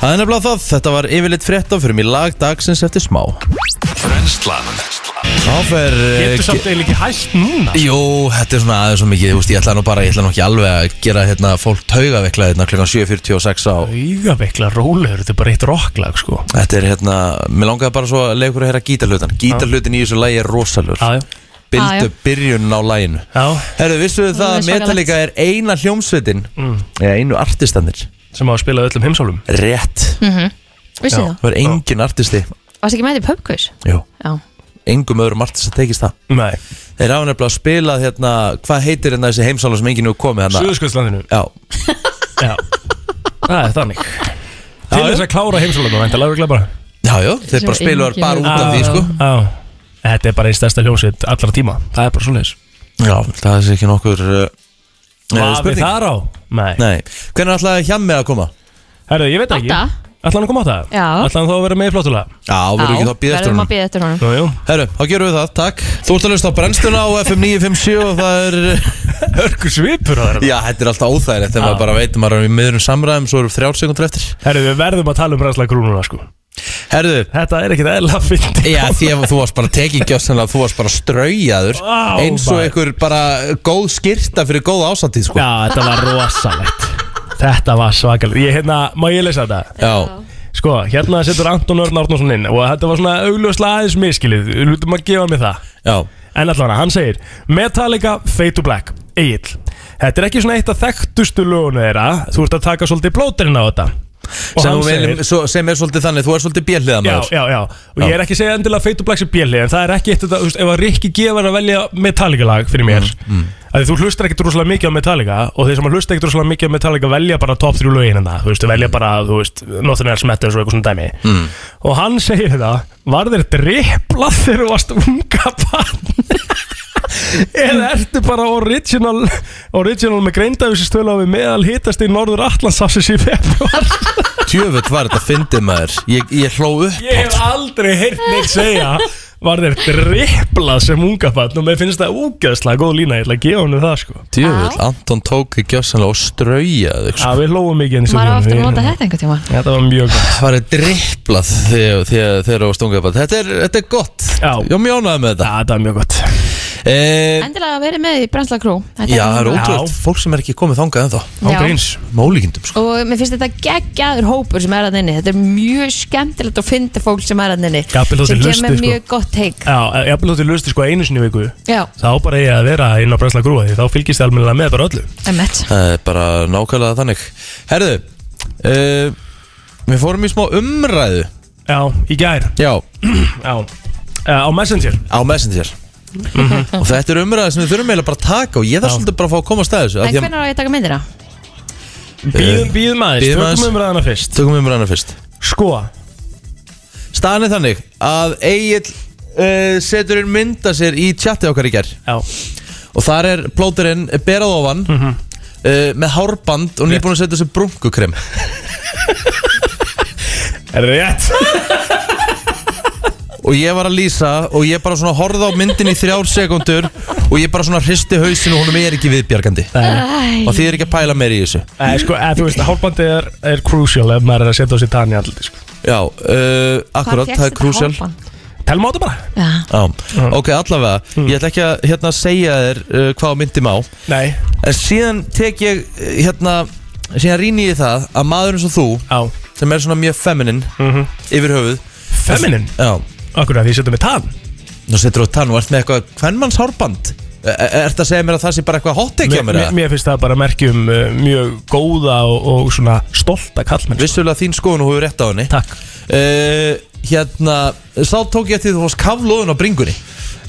Það er nefnilega það, þetta var yfirleitt frétta fyrir mig lag dagsins eftir smá Brenslan Þá fer eh, Getur samt eiginlega ekki hægt núna Jú, þetta er svona aðeins og mikið, þú veist, ég ætla nú bara, ég ætla nú ekki alveg að gera hérna fólk taugaveiklað hérna kl. 7.46 á Ígavekla rólegur, þetta er bara eitt rocklag sko Þetta er hérna, mér langaði bara svo að leiða ykkur að heyra gítarlutan Gítarlutin í þessu lagi er rosalur Já, já. Já, já. Bildu byrjun á laginu já, Herru, vissu þið það Það er að svakalegt. Metallica er eina hljómsveitin eða einu artistanir Mm. sem á að spila öllum heimsálum Rétt, Vissið Já. það? það er engin artisti Varst ekki með þetta í pubquiz? Jú, Já engum öðrum artist að tekist það Nei, Þeir hafa nefnilega spilað hérna, hvað heitir hérna þessi heimsála sem enginn hefur komið hérna Suðurskjöldslandinu Já, Já, það er þannig Til Já, já. þess að klára heimsálum og væntalega örugglega bara já, já, þeir Sem bara spilaðar enginn bara hefur- út af því, Já, sko já. Þetta er bara einn stærsta hljómsveit allra tíma Það er bara svoleiðis Já, það er ekki nokkur uh, eh, Vafi þar á? Nei, Nei, hvernig ætlaði hjemmi að koma? Herðu, ég veit ekki Átta. Ætla hann að koma á það? Já. Ætla hann þá að vera með í flottulega? Já, verður ekki þá að býða eftir Ah. verðum honum að býða eftir honum Nú, jú Herru, þá gerum við það, takk Þú ert að lösta á brennstuna á FM 957 og það er, Hörku svipur á þeirra já, þetta er alltaf óþægilegt þegar maður bara veit, maður er í miðurum samræðum svo eru þrjár sekundur eftir Herðu, við verðum að tala um ræðslega grúnuna sko Herru, Þetta er ekkit eðla fyndi já, því að þú varst bara tekið gjössanlega, þú varst bara straujaður Vá, eins og maður. einhver bara góð skyrta fyrir góð ásatíð, sko Já, þetta var rosalegt Þetta var svakalegt Ég hérna, má ég lesa þetta? Já, Sko, hérna setur Anton Örn Árnarsson inn og þetta var svona augljóslega aðeins miskilið Við lutum að gefa mig það já, En allavega, hann segir Metallica, Fade to Black, Egil Þetta er ekki svona eitt af þekktustu lögunu þeirra Þú ert að taka svolítið blóterinn á þetta Og sem, hann þú segir segir, svo, sem er svolítið þannig, þú er svolítið bjelliða Já, maður já, já, og ég er ekki að segja endilega Fade to Black sem bjeli, en það er ekki eitt þetta, þú veist, ef að Rikki gefur að velja Metallica lag fyrir mér að þú hlustar ekkit rosalega mikið á Metallica og þeir sem að hlusta ekkit rosalega mikið á Metallica velja bara top 3 lögin en það, þú veist, velja bara þú veist, Northern Air Smatters og eitthvað svona dæmi mm. og hann segir þetta, var þér driplað þegar þú varst unga barn eða ertu bara original original með greindavísistölu á við meðal hittast í Norður Atlantsafsins í februar Tjöfull var þetta fyndið maður, ég, ég hló upp Ég hef aldrei heyrt neitt segja Var þér driplað sem unga fann Og mér finnst það úgeðslega góð lína Ég ætla að gefa henni það sko Tjöfull, Anton tók gjössanlega og straujaður, sko Já, við hlóum mikið henni Maður á eftir að hérna. nota þetta einhvern tíma Þetta var mjög gott Það var dripplað þegar þegar- þegar þú varst unga bara Þetta er, þetta er gott Já. Ég mjónaði með Já, þetta þetta var mjög gott e, Endilega verið með í Brensla Crew Þetta Já, það er núna. Já. ótrúlega fólk sem er ekki komið þangað ennþá Já. Ángríns Mólíkindum sko Og mér finnst þetta geggjaður hópur sem er að nynni Þetta er mjög skemmtilegt að finna fólk sem er að nynni Jafnvel þótt Sem þið kemur hlustið, með sko. mjög gott teik Já, ég hafði lótið lusti sko einu sinni í viku Já, Þá bara ég að vera inn á brensla grúa Því þá fylgist þið almennilega með bara öllu emmett Það er bara nákvæmlega þannig Herðu e, Við fórum í smá umræðu Já, í gær Já, Já Eh, Á Messenger á Messenger Mhm. Og þetta er umræða sem við þurfum eiginlega bara að taka Og ég þarf Já. svolítið bara að fá að komast að þessu af En því að- hvernig á ég að taka myndir það? Býðum, býðum Eh, aðeins, Bíðum aðeins. tökum umræðana fyrst Tökum umræðana fyrst Sko, Staðan er þannig að Egil e, setur inn mynda sér í chati okkar í gerð já, Mhm. og þar er plóterinn berað ofan uh, með hárband og nýbúin að setja sér brunkukrem er það rétt? og ég var að lýsa og ég bara svona horfði á myndin í þrjár sekundur og ég bara svona hristi hausin og honum er ekki viðbjargandi Æ, og þið er ekki að pæla meir í þessu Nei, sko, eða, þú veist, hálfbandi er, er crucial ef maður er að setja á sér tanni alltaf sko. já, uh, akkurat, það er krúsjál Telma á þetta bara? Já, Já, ok, allavega, Mm. ég ætla ekki að hérna, segja þér uh, hvað á myndi má Nei En síðan tek ég, uh, hérna, síðan rýni ég í það að maður eins og þú, Á sem er svona mjög feminin yfir höfuð Feminin? Já, Mhm. Akkur að því setjum við tann Nú setur þú tann og ert með eitthvað hvernmanns hárband Ert að segja mér að það sé bara eitthvað hot ekki á mér mér, eða? mér finnst það bara merki um uh, mjög góða og, og svona stolta kallmenn sko. Vissulega þín skoðun og þú hefur rétt á henni Takk uh, Hérna, sá tók ég eftir því þú fórst kaflóðun á bringunni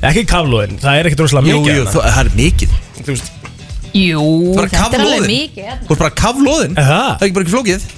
Ekki kaflóðin, það er ekkit rosalega mikið jú, þarna. þú- það er mikið Þú þú veist jú, Bara þetta er alveg kaflóðin. mikið hérna. ert bara kaflóðun Það Aha, er ekki bara ekki flókið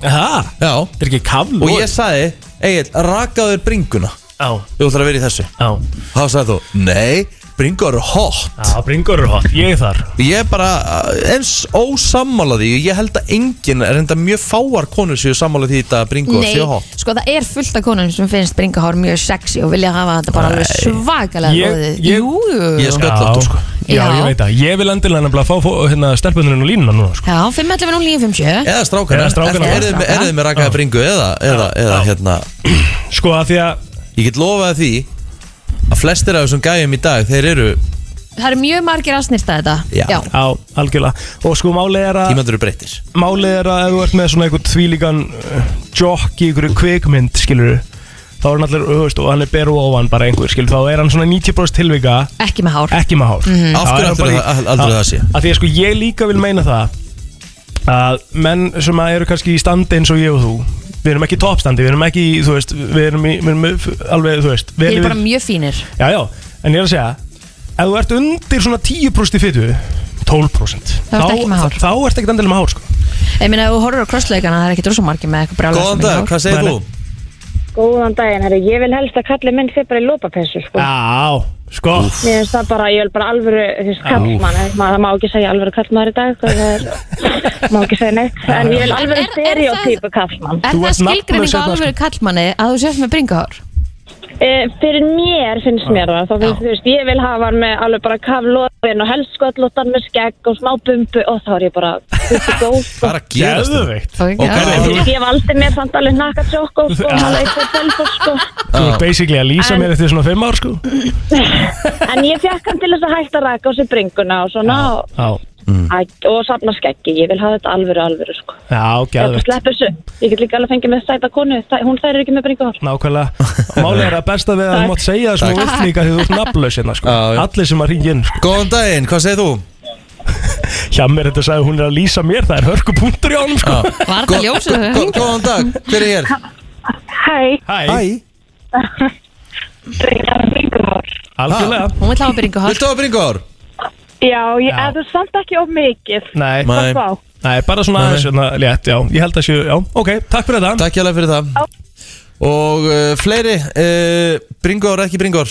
aha Já Það er ekki Og kaflóðin ég sagði, Egil, rakaður bringuna Á, Þú ætlar að vera í þessu á Þá sagði þú, nei, bringur eru hot Á, bringur er hot, ég er þar Ég er bara uh, eins ósammála því og Ég held að enginn, er enda mjög fáar konur séu sammála því þetta bringur Nei, séu hot sko það er fullt af konum sem finnst bringahár mjög sexy og vilja hafa þetta bara alveg svakalega Ég- loðið. ég- Jú, jú, Ég jú. skal- Sköllóttur, Já. sko. Já, Já. ég veit það Ég vil endilega nefnilega fá fó- hérna, stelpunurinn og línuna núna sko. Já, 511 0950 Eða strákana Eða strákana. Ertu- Eruð þið með- eruð þið með rakaða bringu eða, eða, eða Já. hérna Sko að því að Ég get lofað því að flestir af þessum gæjum í dag, þeir eru Það eru mjög margir að snirta þetta Já. Já, algjörlega Og sko málið er að tímandur eru breyttir Málið er að ef þú ert með svona einhvern þvílíkan uh, Jokk í einhverju kvikmynd skilur Þá er hann allir, þú veist, og hann er beru ofan bara einhver skilur Þá er hann svona 90% tilvika Ekki með hár ekki með hár mm. Af hverju aldrei það- aldrei það sé? Því að sko ég líka vil meina það að menn sem að eru kannski í standi eins og ég og þú við erum ekki í toppstandi, við erum ekki, í, þú veist við erum, í, við erum í- alveg, þú veist Þeir við eru bara mjög fínir Já, já, en ég er að segja ef þú ert undir svona 10% í fytu 12% Þá ertu ekki með hár. þá, þá ert ekki endilega með hár sko. Ég meina, ef þú horfur á crossleikana, það er ekki rosa margir með eitthvað brjálæðislega Góðan mikið dag, hár. hvað segir Nei, þú? Góðan daginn, herru. Ég vil helst að kalli minn fyrir bara í lópapessu, sko. Já, sko Mér finnst það bara, ég vil bara alvöru, þú veist, kallmann. eh, maður- Það má ekki segja alvöru kallmaður í dag, sko, það er, má ekki segja neitt. En ég vil alvöru er það- stereotypu kallmann. Er Þú það ert nafnlaus skilgreining á hérna, alvöru kallmanni að þú sért með bringahár? E, fyrir mér finnst mér það, þá finnst, þú veist, ég vil hafa hann með alveg bara kaflóðin og helst skollóttan með skegg og smá bumbu og þá er ég bara, þú veist, góð, sko. Hvað er að gerast það? Geðveikt Ok, Og hvað já. er Þú þú? veist, Ég valdi mér samt alveg nakka tjókó, sko, og alveg eitthvað telfur, sko. Þú ert basically að lýsa En- mér eftir svona 5 ár sko En ég fekk hann til þess að hætta að raka á sér bringuna og svona, og Já, Æ, og safna skeggi, ég vil hafa þetta alvöru, alvöru sko. já, Ég geðveikt slepp þessu, ég get líka alveg fengið með sæta konu, Þa, hún þær er ekki með bringahár. Nákvæmlega, málið er að besta við að þú mátt segja það sem þú vilt líka því þú ert nafnlaus hérna sko. Já, já. Allir sem að ringi inn sko. Góðan daginn, hvað segir þú? Hjá mér þetta sagði hún er að lýsa mér, það er hörku punktur í honum sko. Var þetta Gó- ljósið gó- þegar gó- hringdi? Góðan dag, hver er hér? Hæ, Hæ, bringar bringahár. algjörlega Hún vil hafa bringahár. Ah. Viltu hafa bringur? Já, ég, Já. en þú samt ekki of mikið. Nei, Ma- Nei. Hvað þá? nei, bara svona Nei. aðeins svona létt, já, ég held að séu, já, ok, takk fyrir þetta Takk hjá fyrir það Og uh, fleiri, uh, bringur, ekki bringur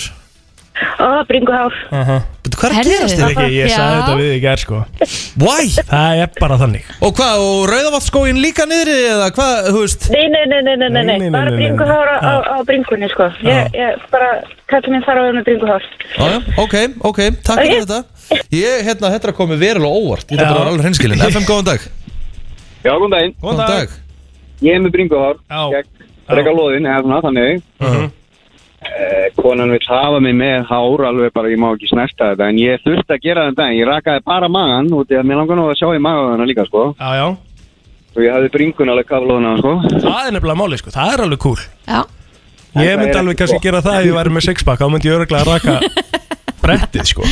Ó, bringahár. Betur, hvað er að Herðu. gerast Þetta þér? er ekki, ég sagði Já. þetta við í gerð sko Why? Það er bara þannig Og hvað, og rauðavattskóin líka niðri eða hvað, þú veist? Nei, nei, nei, nei, nei, nei, Nei, nei, nei, nei, bara nei, nei. bringahár á, Já. á, á bringunni sko. Ég, ég, bara, kallið minn þarf að vera með bringahár. Já, já, ok, ok, takk fyrir þetta Ég, hérna, þetta er að komið verulega óvart Ég er Já. bara að vera alveg hreinskilin FM, góðan dag Já, góðan daginn. Góðan dag Ég er með bringuhár. Já. Gegn Reka loðin, eða svona, þannig. Mhm. Eh, konan vil hafa mig með hár, alveg bara ég má ekki snerta þetta, en ég þurfti að gera þetta. Ég rakaði bara magan, út í að mér langar nú að sjá í magaðana líka, sko. Já, já, Og ég hafði bringun alveg kaflóðina, sko. það er nefnilega máli sko, það er alveg cool Já. Ég það myndi er alveg ekki kannski gott. gera það ef ég væri með sixpack, þá myndi ég örgulega raka brettið sko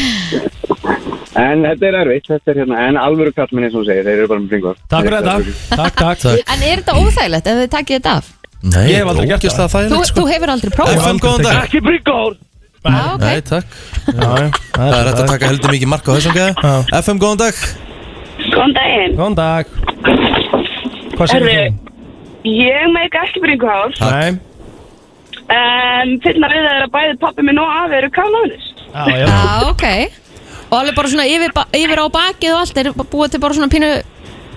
En þetta er erfitt, þetta er hérna, en alvöru kallmenni, eins og þú segir, þeir eru bara með bringuhár. Takk fyrir þetta, takk, takk Takk. En er þetta óþægilegt ef þið takkið þetta af? Nei, Ég hef aldrei gert ógeðslega Þú, þægilegt, sko. þú hefur aldrei prófað? FM, góðan dag Ekki bringuhár! Já, ok. Nei, takk Ah, Já, já, Það er svo, hægt að taka heldur mikið mark á þessum gæða Já. FM, góðan dag Góðan daginn. Góðan dag Hvað segir Herri. þú? Ég meik ekki bringuhár, Nei, en finna við það er að bæði pappi minn og afi eru kálóðinist. já, já Já, ok. Og alveg bara svona yfir, ba- yfir á bakið og allt, er búið til bara svona pínu...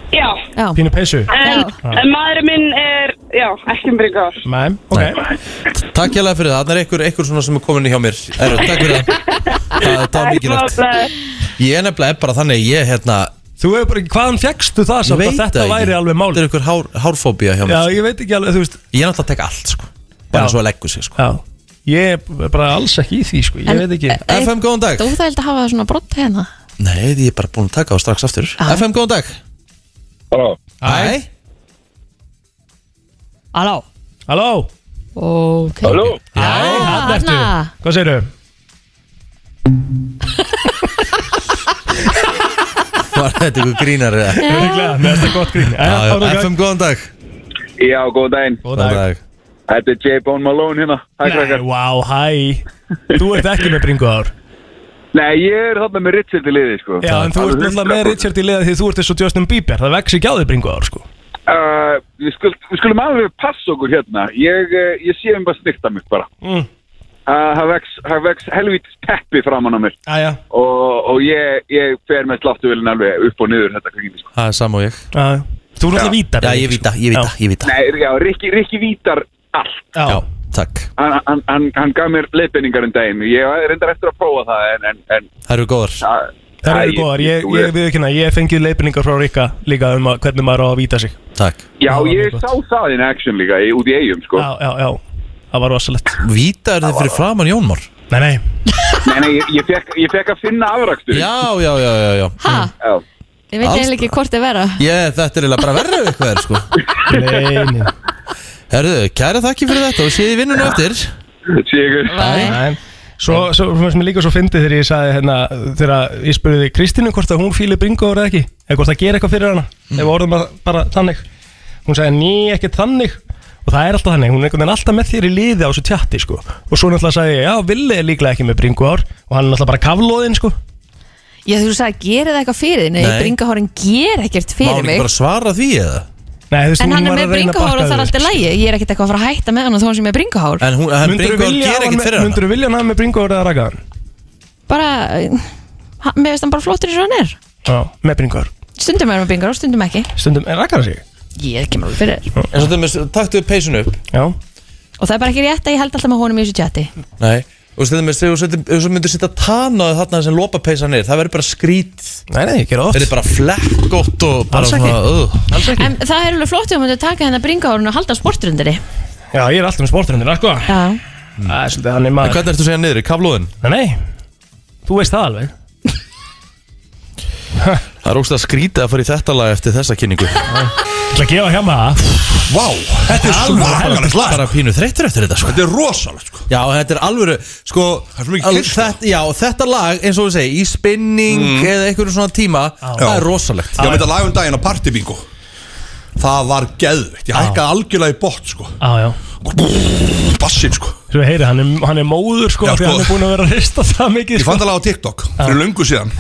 Já, Já. Pínu peysu en, Já. um, en maðurinn minn er, já, ekki um bringuhár. Nei, ok Takk hjá fyrir það, þannig er einhver, einhver svona sem er komin í hjá mér Erfið, takk fyrir það Það, það er mikilvægt Ég er nefnilega bara þannig, ég hérna Þú hefur bara ekki, hvaðan fjekkstu það Ég samt veit að þetta það væri ekki. alveg Þetta máli er einhver hár, hárfóbía hjá mér Já, ég veit ekki alveg, þú veist Ég er náttúrulega að taka allt, sko Bara Já. svo að leggu sig, sko Já, ég er bara alls ekki í því, sko, ég En- veit ekki Nei. FM, góðan dag Þetta er óþægilegt að hafa svona brott hérna. Nei, því ég er bara búin að taka á strax aftur Já. FM, góðan dag Halló. Æ, Halló. Halló, Ok. Halló. já, hann ertu þarna. Hvað segirðu? var þetta einhver grínar eða? Örglega, með þetta gott grín Já, Jæja, já, áfram gang. FM, góðan dag Já, góðan daginn. Góðan dag. Þetta er J. Bone Malone hérna. Hæ, Nei, krakkar. wow, hæ Þú ert ekki með bringuðar Nei, ég er þarna með Richard í liði, sko. Já, en þú ert Alveg náttúrulega með 100%. Richard í liða því þú ert eins og Justin Bieber Það vex ekki á því bringuðar, sko Uh, við, skul, við skulum alveg passa okkur hérna ég, eh, ég sé um bara snirta mig bara Mm. Uh, það vex, það vex helvítis teppi framan á mér Æja, og, og ég, ég fer með sláttuvelin alveg upp og niður þetta kringin sko. Það er sam og ég æja Þú ert náttúrulega sko. vítar Já, ég víta, ég víta, ég víta Nei, já, Rikki, Rikki vítar allt Já, Já, takk hann, hann, hann, hann gaf mér leiðbendingar um daginn ég reyndar eftir að prófa það en, en, en Það eru góðar að, það eru góðar Ég, ég við ekki hérna, ég hef fengið leifinningar frá Rikka líka um að, hvernig maður á að víta sig Takk Já, Já, mjög ég gott. sá það in action líka í, út í eigum sko. Já, já, já það var rosalegt Víta er þið fyrir framann Jónmar Nei, nei, Nei, nei, ég, ég, fekk, ég fekk að finna afrakstur Já, já, já, já, já Ha? Já. Ég veit Alls- eiginlega ekki hvort þið vera Ég, þetta er eiginlega bara verður eitthvað er, sko nei, nei, Herðu, kæra þakki fyrir þetta og séð í vinnunum eftir Sigur Nei. nei. Svo, svo fannst mér líka svo fyndið þegar ég sagði hérna, þegar ég spurði Kristínu hvort að hún fíli bringu eða ekki, eða hvort það gera eitthvað fyrir hana Mm. ef við orðum að, bara þannig hún sagði ný, ekki þannig og það er alltaf þannig, hún er einhvern veginn alltaf með þér í liði á þessu tjatti sko, og svo náttúrulega sagði ég já, Villi er líklega ekki með bringu ár og hann er náttúrulega bara kaflóðinn sko Ég þú sagði, gera það eitthvað fyrir þið Nei, Nei. bringahórin ger ekkert Má fyrir hann mig ekki bara svara því eða? Nei, þú veist, En hún hann er var með að reyna að bringahár og bakka það er þig, alltaf sko. lægi Ég er ekkert eitthvað að fara að hætta með hann og þó hann sem er bringahár En hún, hann Myndirðu bringur vilja gera hafa hann ekkert með- fyrir hann myndirðu vilja hann hafa með bringu eða raka hann? Bara, ha, mér veist hann bara flottur í svo hann er Já, með bringu ár Stundum er hann með bringahár, stundum ekki Stundum, er raka hann sig? Ég kemur alveg fyrir þér. En svo þeim, taktu peysun upp Já, Og það er bara ekki rétt að ég held alltaf með honum í þessu chati Nei Og svo þeim, ef þú myndir setja tanaðu þarna sem lopa peysan er Það verður bara skrít nei, nei, ég gera oft Það verður bara flekk gott og bara Alls ekki. uh. Alls ekki. En það er alveg flott ef hann myndi taka hennar bringahárun og halda sportrundinni Já, ég er alltaf með sportrundir, sko Já, Það er svolítið þannig En maður hvernig ertu að segja niður, kaflóðin? Nei, nei, þú veist það alveg Það er ógst að skrýta að fara í þetta lag eftir þessa kynningu Ég ætla að gefa hjá maður það Vá, þetta er svakalegt lag Bara pínu þreyttur eftir þetta sko Þetta er rosalegt sko Já, þetta er alvöru, sko Það er svo mikið al- kyrrt, sko. Mm. þetta, Já, þetta lag, eins og við segi, í spinning eða einhverjum svona tíma Það Já. er rosalegt Ég myndi að laga um daginn á partybingo Það var geðveikt Ég hækkaði algjörlega í bótt sko Já, já Bassin sko Svo heyri, hann er, hann er móður sko Já, sko. Því hann er búin að vera að rista það mikið Ég sko. fann það lag á TikTok fyrir löngu síðan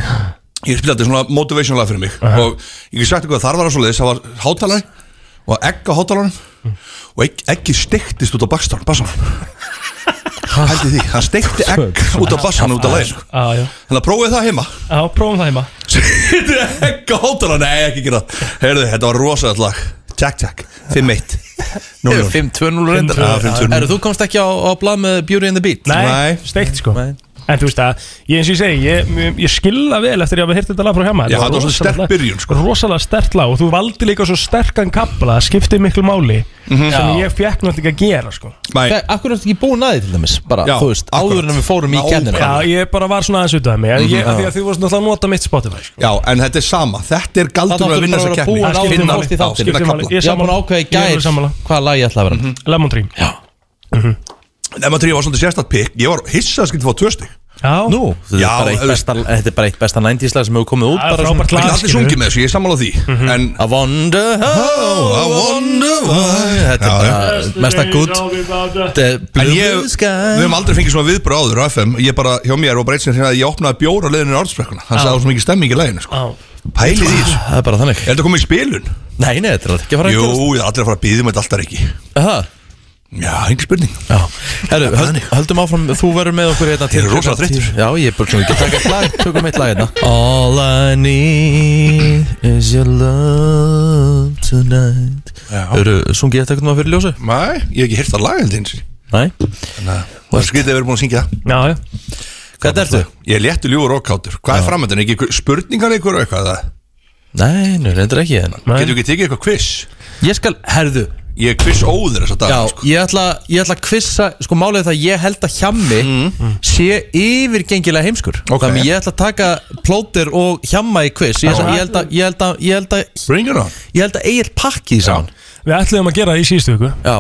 Ég spilaði þetta svona motivation lag fyrir mig Og ég get sagt eitthvað þar var það svoleiðis Það var hátalari og egg á hátalarunum Og egg, eggi steiktist út á bakstarn Bassan Hældi því, hann steikti egg út á bassan út á lægin sko. Já, já Þannig að prófið það heima Já, prófum það heima Settu egg á hátalarunum, nei ekki gera það Heyrðu, þetta var rosalegt lag Jack Jack, 5-1 Núll, núll. 5-2-0 reyndar 5-2-0. Já, 5-2-0. Eru þú komst ekki á, á blað með Beauty and the Beat? Nei, Nei. steikt sko Nei. En þú veist að, ég eins og ég segi, ég, ég- ég skilða vel eftir ég hafa hýrt þetta lag frá hjá maður Já, þetta var svona sterk byrjun, sko. Rosalega sterkt lag og þú valdi líka svo sterkan kapla, skiptið miklu máli Mhm. Sem Já. ég fekk náttúrulega ekki að gera sko Nei, Nei, Akkur ertu ekki búin að því til dæmis bara, Já, þú veist, akkurat. áður en við fórum í Já, kennina Mhm, Já, ég bara var svona aðeins út af mig mm -hmm, Því að þú varst náttúrulega að nota mitt Spotify sko. Já, en þetta er sama, þetta er galdur að áttu vinna þessa bara að vera keppni búin áður en Finna- þú fórst í já, þáttinn. finna Mhm. Skiptir máli. kafla. Ég Ég var búin að sammála. ákveða í Ég er gær sammála. hvaða lag ég ætla að vera mm Lemon Tree Nefna 3 var svolítið sérstætt pikk Ég var hissað að skilja fá tvö stygg Já, Nú, þetta Já, er bara eitt auðvist. besta, þetta er bara eitt besta 90s lag sem hefur komið út Það er bara frábært Það lag er allir skilurðu. Mhm. sungið með þessu, ég er sammála því En I wonder how, I wonder why Þetta Já, er bara mesta gutt En ég, við höfum aldrei fengið svona viðbröð áður á FM Ég bara, hjá mér var bara eitt sem hérna að ég opnaði bjóra leðinu í orðsprekkuna Þannig að það var svo mikið stemming í læginu sko. Já. Pælið í þessu Ah, Það er bara þannig Er þetta komið í spilun? Nei, nei, þetta er ekki að fara að Jú, gerast ég er allir að fara að býða með þetta alltaf ekki Það? Já, engin spurning Já, herru, höld, höldum áfram, þú verður með okkur hérna til Ég er rosalega klukkan tíu. þreyttur. Já, ég er bara svona, ég get taka eitt lag, tökum eitt lag hérna All I need is your love tonight Já. Eru, sungið þetta eitthvað fyrir ljósu? Nei, ég hef ekki hirt að laga þetta eins Nei Það er skrítið að vera búin að syngja það já, já Hvernig ertu? Ég er léttu ljúfur og kátur Hvað er framöndan? Ekki einhver- spurningar einhver og eitthvað eða? Nei, nú reyndir ekki hérna Nei. Getur ekki tekið eitthvað quiz? Ég skal, herðu, Ég er quiz óður þess að dag já, sko. ég ætla, ég ætla að kvissa Sko málið er það, að ég held að hjammi sé yfirgengilega heimskur Mm. Ok. Þannig ég ætla að taka plóter og hjamma í kviss Ég, ég held að, ég held að, ég held að Bring it on Ég held að Egil pakki því saman Við ætluðum að gera það í síðustu viku Já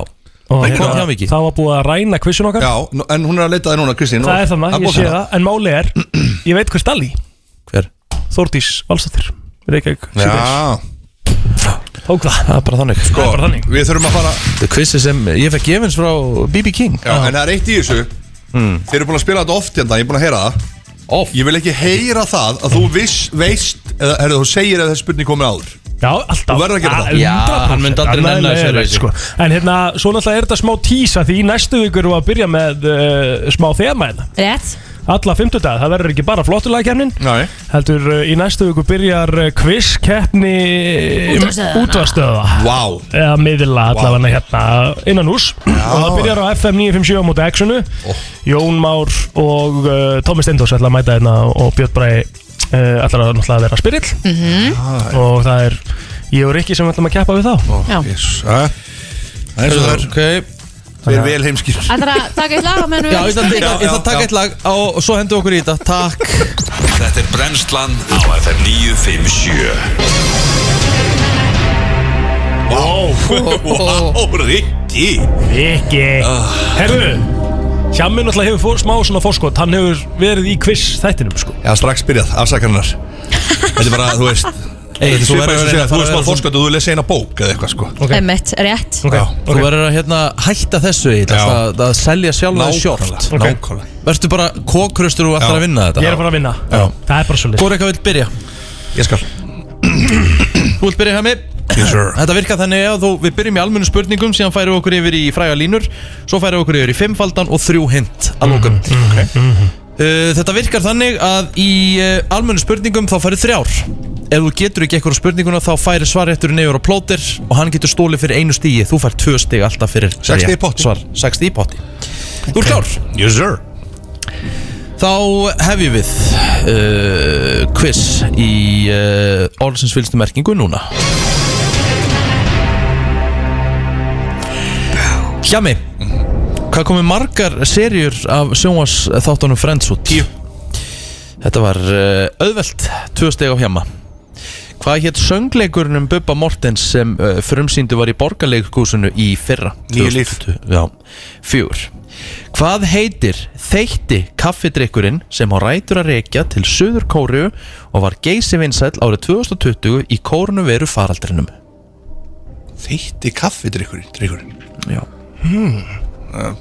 og hérna, Það kom hjá mikið. það var búið að ræna kvissun okkar sko. Já, nú- en hún er að leita það núna, Kristín Það er þannig, ég sé það það En máli er, ég veit hvers dali Hver? Þórdís Valstóttir Reykjavík Sjúkrahús. Já, Tók það Það er bara þannig sko, Það er bara þannig. við þurfum að fara Þetta er kvissi sem ég fekk gefins frá BB King Já, en það er eitt í þessu Hmm. Þeir eru búin að spila þetta oft hérna, ég er búin að heyra það Off Ég vil ekki heyra það að þú viss, veist eða herri, þú segir að þessi spurning komið áður Já, alltaf Þú verður að gera það. Ah, Já, 100%. hann myndi aldrei Annað nenna þessu leiðilegt, reysi. sko. En hérna, svo náttúrulega er þetta smá tísa Því í næstu viku erum við að byrja með uh, smá þema hérna rétt Alla fimmtudag, það verður ekki bara flottulagakefnin Nei Heldur uh, í næstu viku byrjar uh, quizkeppni Útvarpsstöðvanna. útvarstöða Vá eða miðla allavega hérna innan hús og það byrjar á FM 957 á móti Actionu Jón Már og uh, Tómi Steindós ætla að mæta hérna og Björn Bræ uh, ætlar að náttúrulega vera spyrill -hmm. og það er ég og Rikki sem ætlum að keppa við þá Já. Jesus, eh? Það er svo það er Ok Við erum vel heimskir Ætlar að taka eitt lag á meðan Já, ég við ætla að Já, já, taka- ég ætla að taka já. eitt lag á- og svo hendur okkur í þetta Takk Þetta er brennslan á FM 957 Vá, Rikki Viki Ah. Herðu Hjammi náttúrulega hefur fór, smá svona fórskot Hann hefur verið í quiz þættinum sko Já, strax byrjað, afsakarnar Þetta er bara, þú veist Ey, Þetta er þú svipað verður eins og að segja, reyna að Þú veist fara að maður vera fórskot og þú lesa eina bók eða eitthvað sko Ok. Emmett, rétt Ok, Já, ok. Þú verður að hérna, hætta þessu í þetta Já. að, að selja sjálfa það Nákvæmlega, sjálft Ok. nákvæmlega Vertu bara kókröstur og Já. ætlar að vinna Ég er þetta að fara að vinna Já. Það er bara svolítið Hvor eitthvað vill byrja? Ég skal Þú vilt byrja hjá mig? Yes, sir. Þetta virkar þannig að þú, við byrjum í almennu spurningum síðan færum við okkur yfir í fræga línur svo færum við okkur yfir í fimmfaldan og þrjú hint að lókum Mhm, uh, Þetta virkar þannig að í uh, almennu spurningum þá færi þrjár Ef þú getur ekki eitthvað á spurninguna þá færi svarrétturinn yfir á plótir og hann getur stólið fyrir einu stígi þú fær tvö stíg alltaf fyrir Sex stig í rétt potti. svar, 60 í potti Þú er klár Yes, sir Þá hefjum við uh, quiz í uh, orðsins fylgstu merkingu núna Hjami, hvað komið margar serjur af sjónvars þáttunum Friends út? Tíu Þetta var uh, auðvelt, tvö steg á hjama Hvað hétt söngleikurinn um Bubba Mortens sem uh, frumsýndu var í borgarleikúsinu í fyrra? Níu líf. 2020? Já, fjúr Hvað heitir þeitti kaffidrykkurinn sem á rætur að rekja til Suður Kóru og var geysi vinsæll árið 2020 í kórunu veru faraldrinum? Þeitti kaffi drikkurinn, drikkurinn Já. Mhm. Eh,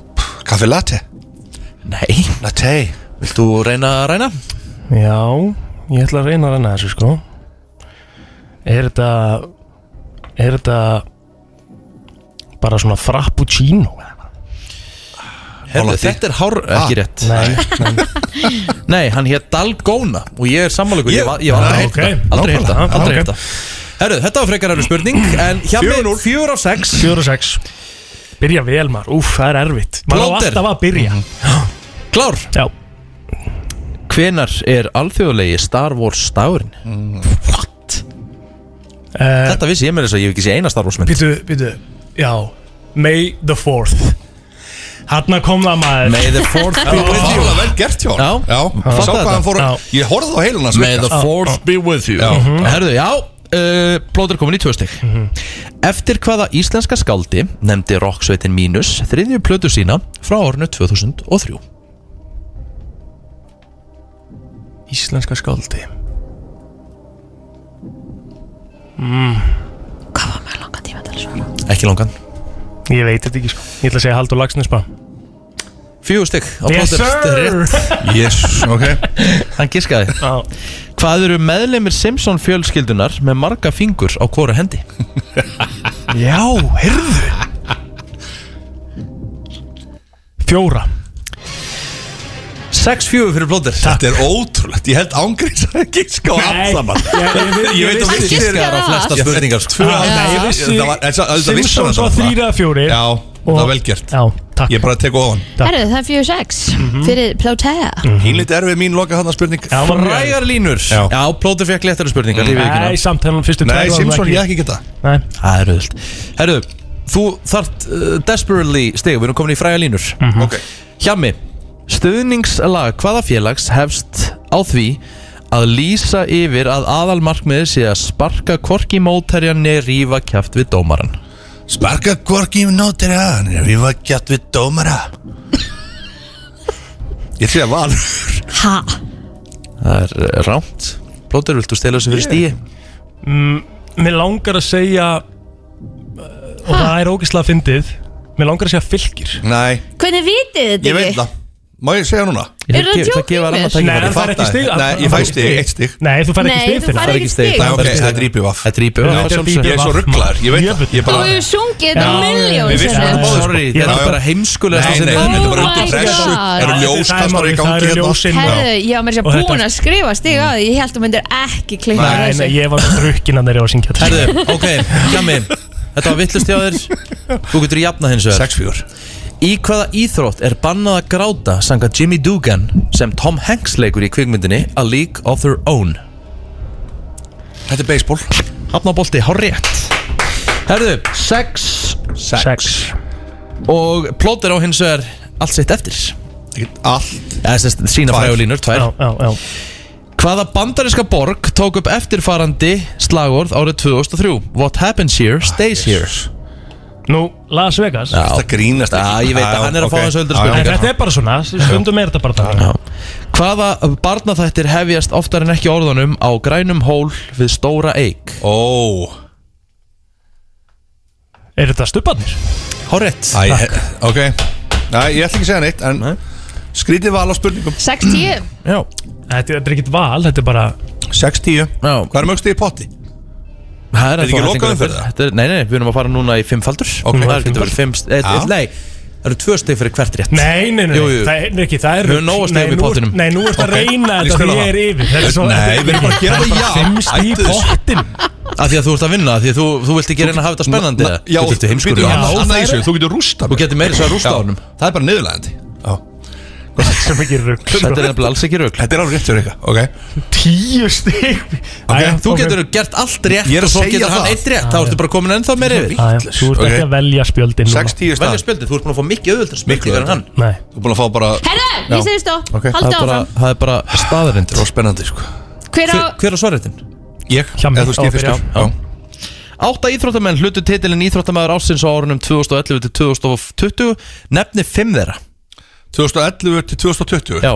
Kaffi latte Nei, Latte vilt þú reyna að reyna? Já Ég ætla að reyna að reyna þessu sko Er þetta Er þetta Bara svona frappuccino eða? Herðu, Hálftíð. þetta er hár... Ah. ekki rétt. Nei Nei, hann hétt Dalgóna og ég er sammáleikur, ég, Ég- Ah, ég, ég hef aldrei Já, heyrt ok. það, aldrei heyrt það, Nákvæmlega, já, aldrei heyrt ok. það. Herru, þetta var frekar erfið spurning, Mm. en hjá mig 4 af 6 4 og 6 Byrja vel maður, úf, það er erfitt Maður á Plóter. alltaf að byrja Klár, Já, hvenar er alþjóðlegi Star Wars dagurinn? Mm. What? uh, Þetta vissi ég með þess að ég hef ekki sé eina Star Wars mynd býtu, býtu Já, May the 4th Hanna kom það maður May the 4th be with you Það er vel gert hjá Já. hann Já, Fattaði sá hvað þetta. hann fór Já. Mhm. að Ég horfði á heilun hans May the líka. fourth be with you Já. Herðu, já uh, Plóður komin í tvö stygg Eftir hvaða íslenska skáldi nefndi rocksveitin Mínus þriðju plötu sína frá árinu 2003 Íslenska skáldi Mm. Hvað var mjög langan tíma til svona? Ekki langan Ég veit þetta ekki sko Ég ætla að segja Haldur Lagsnes bara Fjögur stygg á Yes Plóter. Þetta er rétt. sir Yes, ok Hann giskaði Já, Hvað eru meðlemir Simpson fjölskyldunar með marga fingur á hvora hendi? Já, heyrðu Fjóra 6-4 fyrir Plóður Þetta er ótrúlegt, ég held ángriðs að giska á allt saman Ég, Ég veit að vissi- vissi giskaði Giskaðar á á flesta Ég- spurningar Tvö Já, að- nei, ég vissi- Þetta var- þetta- þetta vissi hann Simpsons var þetta. þrír eða fjórir Já, það Og- var vel gert Já, takk Ég bara teku ofan Takk. Herru, það er 4-6 Mhm. fyrir Plótea Hínlítið erfið mín loka þarna spurning Já, maður- Frægar línur Já, Já. Já Plóður fekk léttari spurningar ég viðurkenni það. Nei, samt hennan fyrstu tvær Nei, var hann Simpson, ekki- ég ekki geta Nei, Það er auðvilt Herru, þú þart uh, desperately stig Við erum komin í fræga línur Mhm. Ok Hjami, stuðningslag hvaða félags hefst á því að lýsa yfir að aðalmarkmiði sé að sparka korki mótherjan neð rífa kjæft við dómaran Sparka hvorki um nótir að hann Við var gætt við dómara Ég sé að valur Ha? Það er uh, rámt Plóter, viltu stela þessu fyrir stíi? Mm, Mér langar að segja uh, Og það er ógislega fyndið Mér langar að segja fylgir Nei, Hvernig vitið þið þetta ég veit það Má ég segja núna? Ég Eru það gef- joke gefur annað í mér? Nei, tækifæri. það fær ekki Fattaði. stig Nei, ég fæ stig, eitt stig. Nei, þú fær ekki Nei, stig þú fyrir fær það. ekki ekki stig. stig Nei, ok, fæ stig. þetta er íbjöf af Þetta er íbjöf Já, að þetta er sjálfsögðu. íbjöf. Ég er svo rugglaður, ég veit Jöfull. það Ég Þú bara hefur sungið þetta Já, miljón við vissum þetta sinnum. báðir. Sorry, Já, þetta er já. bara heimskulegast Nei, nei, Oh þetta er bara my undir pressu God. Það eru Það er ljóskastar í málið, það gangi eru hérna ljósin. Herðu, Já. ég var mér sér Og þetta- búin að skrifa stig á því Ég held að þú myndir ekki klinga Nei, nei, ég var með drukkin að þeirra að syngja þetta. Herru, ok, Hjami Þetta var vittlust hjá þér Þú getur jafnað hins vegar 6-4 Í hvaða íþrótt er bannað að gráta sanga Jimmy Dugan sem Tom Hanks leikur í kvikmyndinni A League of Their Own? Þetta er baseball Hafnabolti, hár rétt Herðu, 6 6 Sex og plóter á hins vegar allt sitt eftir Ekkert allt eða sérst sína Tvær. frægulínur, tvær Já, já, já Hvaða bandariska borg tók upp eftirfarandi slagorð árið 2003? What happens here stays Ah, here Nú, Las Vegas Já, Það grínast Já, ekki. ég veit að hann er að ok. fá þessu öldur Já, já. Nei, spurningar. þetta er bara svona, stundum er þetta bara þannig Já. Hvaða barnaþættir hefjast oftar en ekki orðanum á grænum hól við stóra eik? Ó, Er þetta stubbarnir? Horrett æ, ok Næ, ég ætla ekki að segja neitt En skrítið val á spurningum 6-10 Já, Þetta, þetta er ekkert val, þetta er bara 6-10 já Hvað er mögstu í potti? Það Þetta er er ekki þó lokaumferð, hellingur- eða? Þetta er- Nei, nei, nei, við erum að fara núna í fimmfaldur Ok. Það getur verið fimm st- eitt- Já. eitt- Nei, það eru tvö steg fyrir hvert rétt Nei, nei, nei, Jú, jú. það er ekki, það er Við höfum nóg að stegum Nei, í nú ert- pottinum. Nei, nú ert að Ok, ég reyna þetta skal því hafa. ég er yfir Þetta er svo- Nei, þetta við erum bara að gera það er það, bara já, Fimmst í hættu þessu. pottinum Af því að þú ert að vinna, af því að þú, þú vilt ekki reyna að hafa þetta spennandi eða? Já, Þú ert heimskur býttu, í hann hann. á það það í er- sig, Þú getur rústa Þú getur meira þess að rústa á honum Það er bara niðurlegandi Sem ekki rugg Þetta er nefnilega alls ekki rögl Þetta er alveg rétt fyrir eitthvað Ok tíu stig Æja, Þú getur gert allt rétt Ég er að og svo segja getur hann það. eitt rétt Þá ertu bara komin ennþá meira yfir Æja, þú ert ekki Ok. að velja spjöldin núna 6-10 Velja stað spjöldið, þú ert búin að fá mikið auðvöldar Miklu spjöldið en hann Nei, Þú er búin að fá bara Herðu, Já. ég segði stopp, Ok. Það haldið er bara, áfram það er bara staðarind Það var spennandi sko Hver á, Hver er svarréttin? Ég, Hjá eða mér. þú veist, Já, ég fyrstur byrja. Já. Átta íþróttamenn hlutu titilin íþróttamaður ásins á árunum 2011 til 2020 Nefni fimm þeirra 2011 til 2020 Já,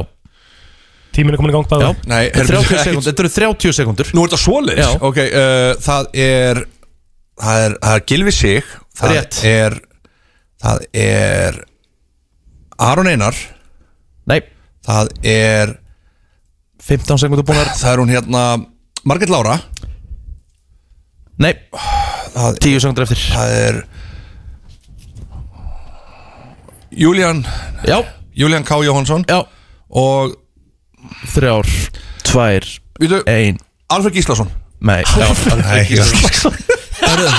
tíminn er komin í gang bæða já Nei, herri, 30 ekki- sekúndur, Þetta eru 30 sekundur Nú er þetta svoleiðis Já. Ok, uh, það er Það er, það er Gilvi Sig Það Rétt. er Það er Aron Einar Nei, Það er 15 sekundur búinar Það er hún hérna Margit Lára Nei, Það- 10 sekundur eftir Það er Julian Já, Julian K. Jóhansson já, Og þrjár, tvær, Vítu, ein Alfred Gíslason Nei, já, Nei, Gíslason Ah,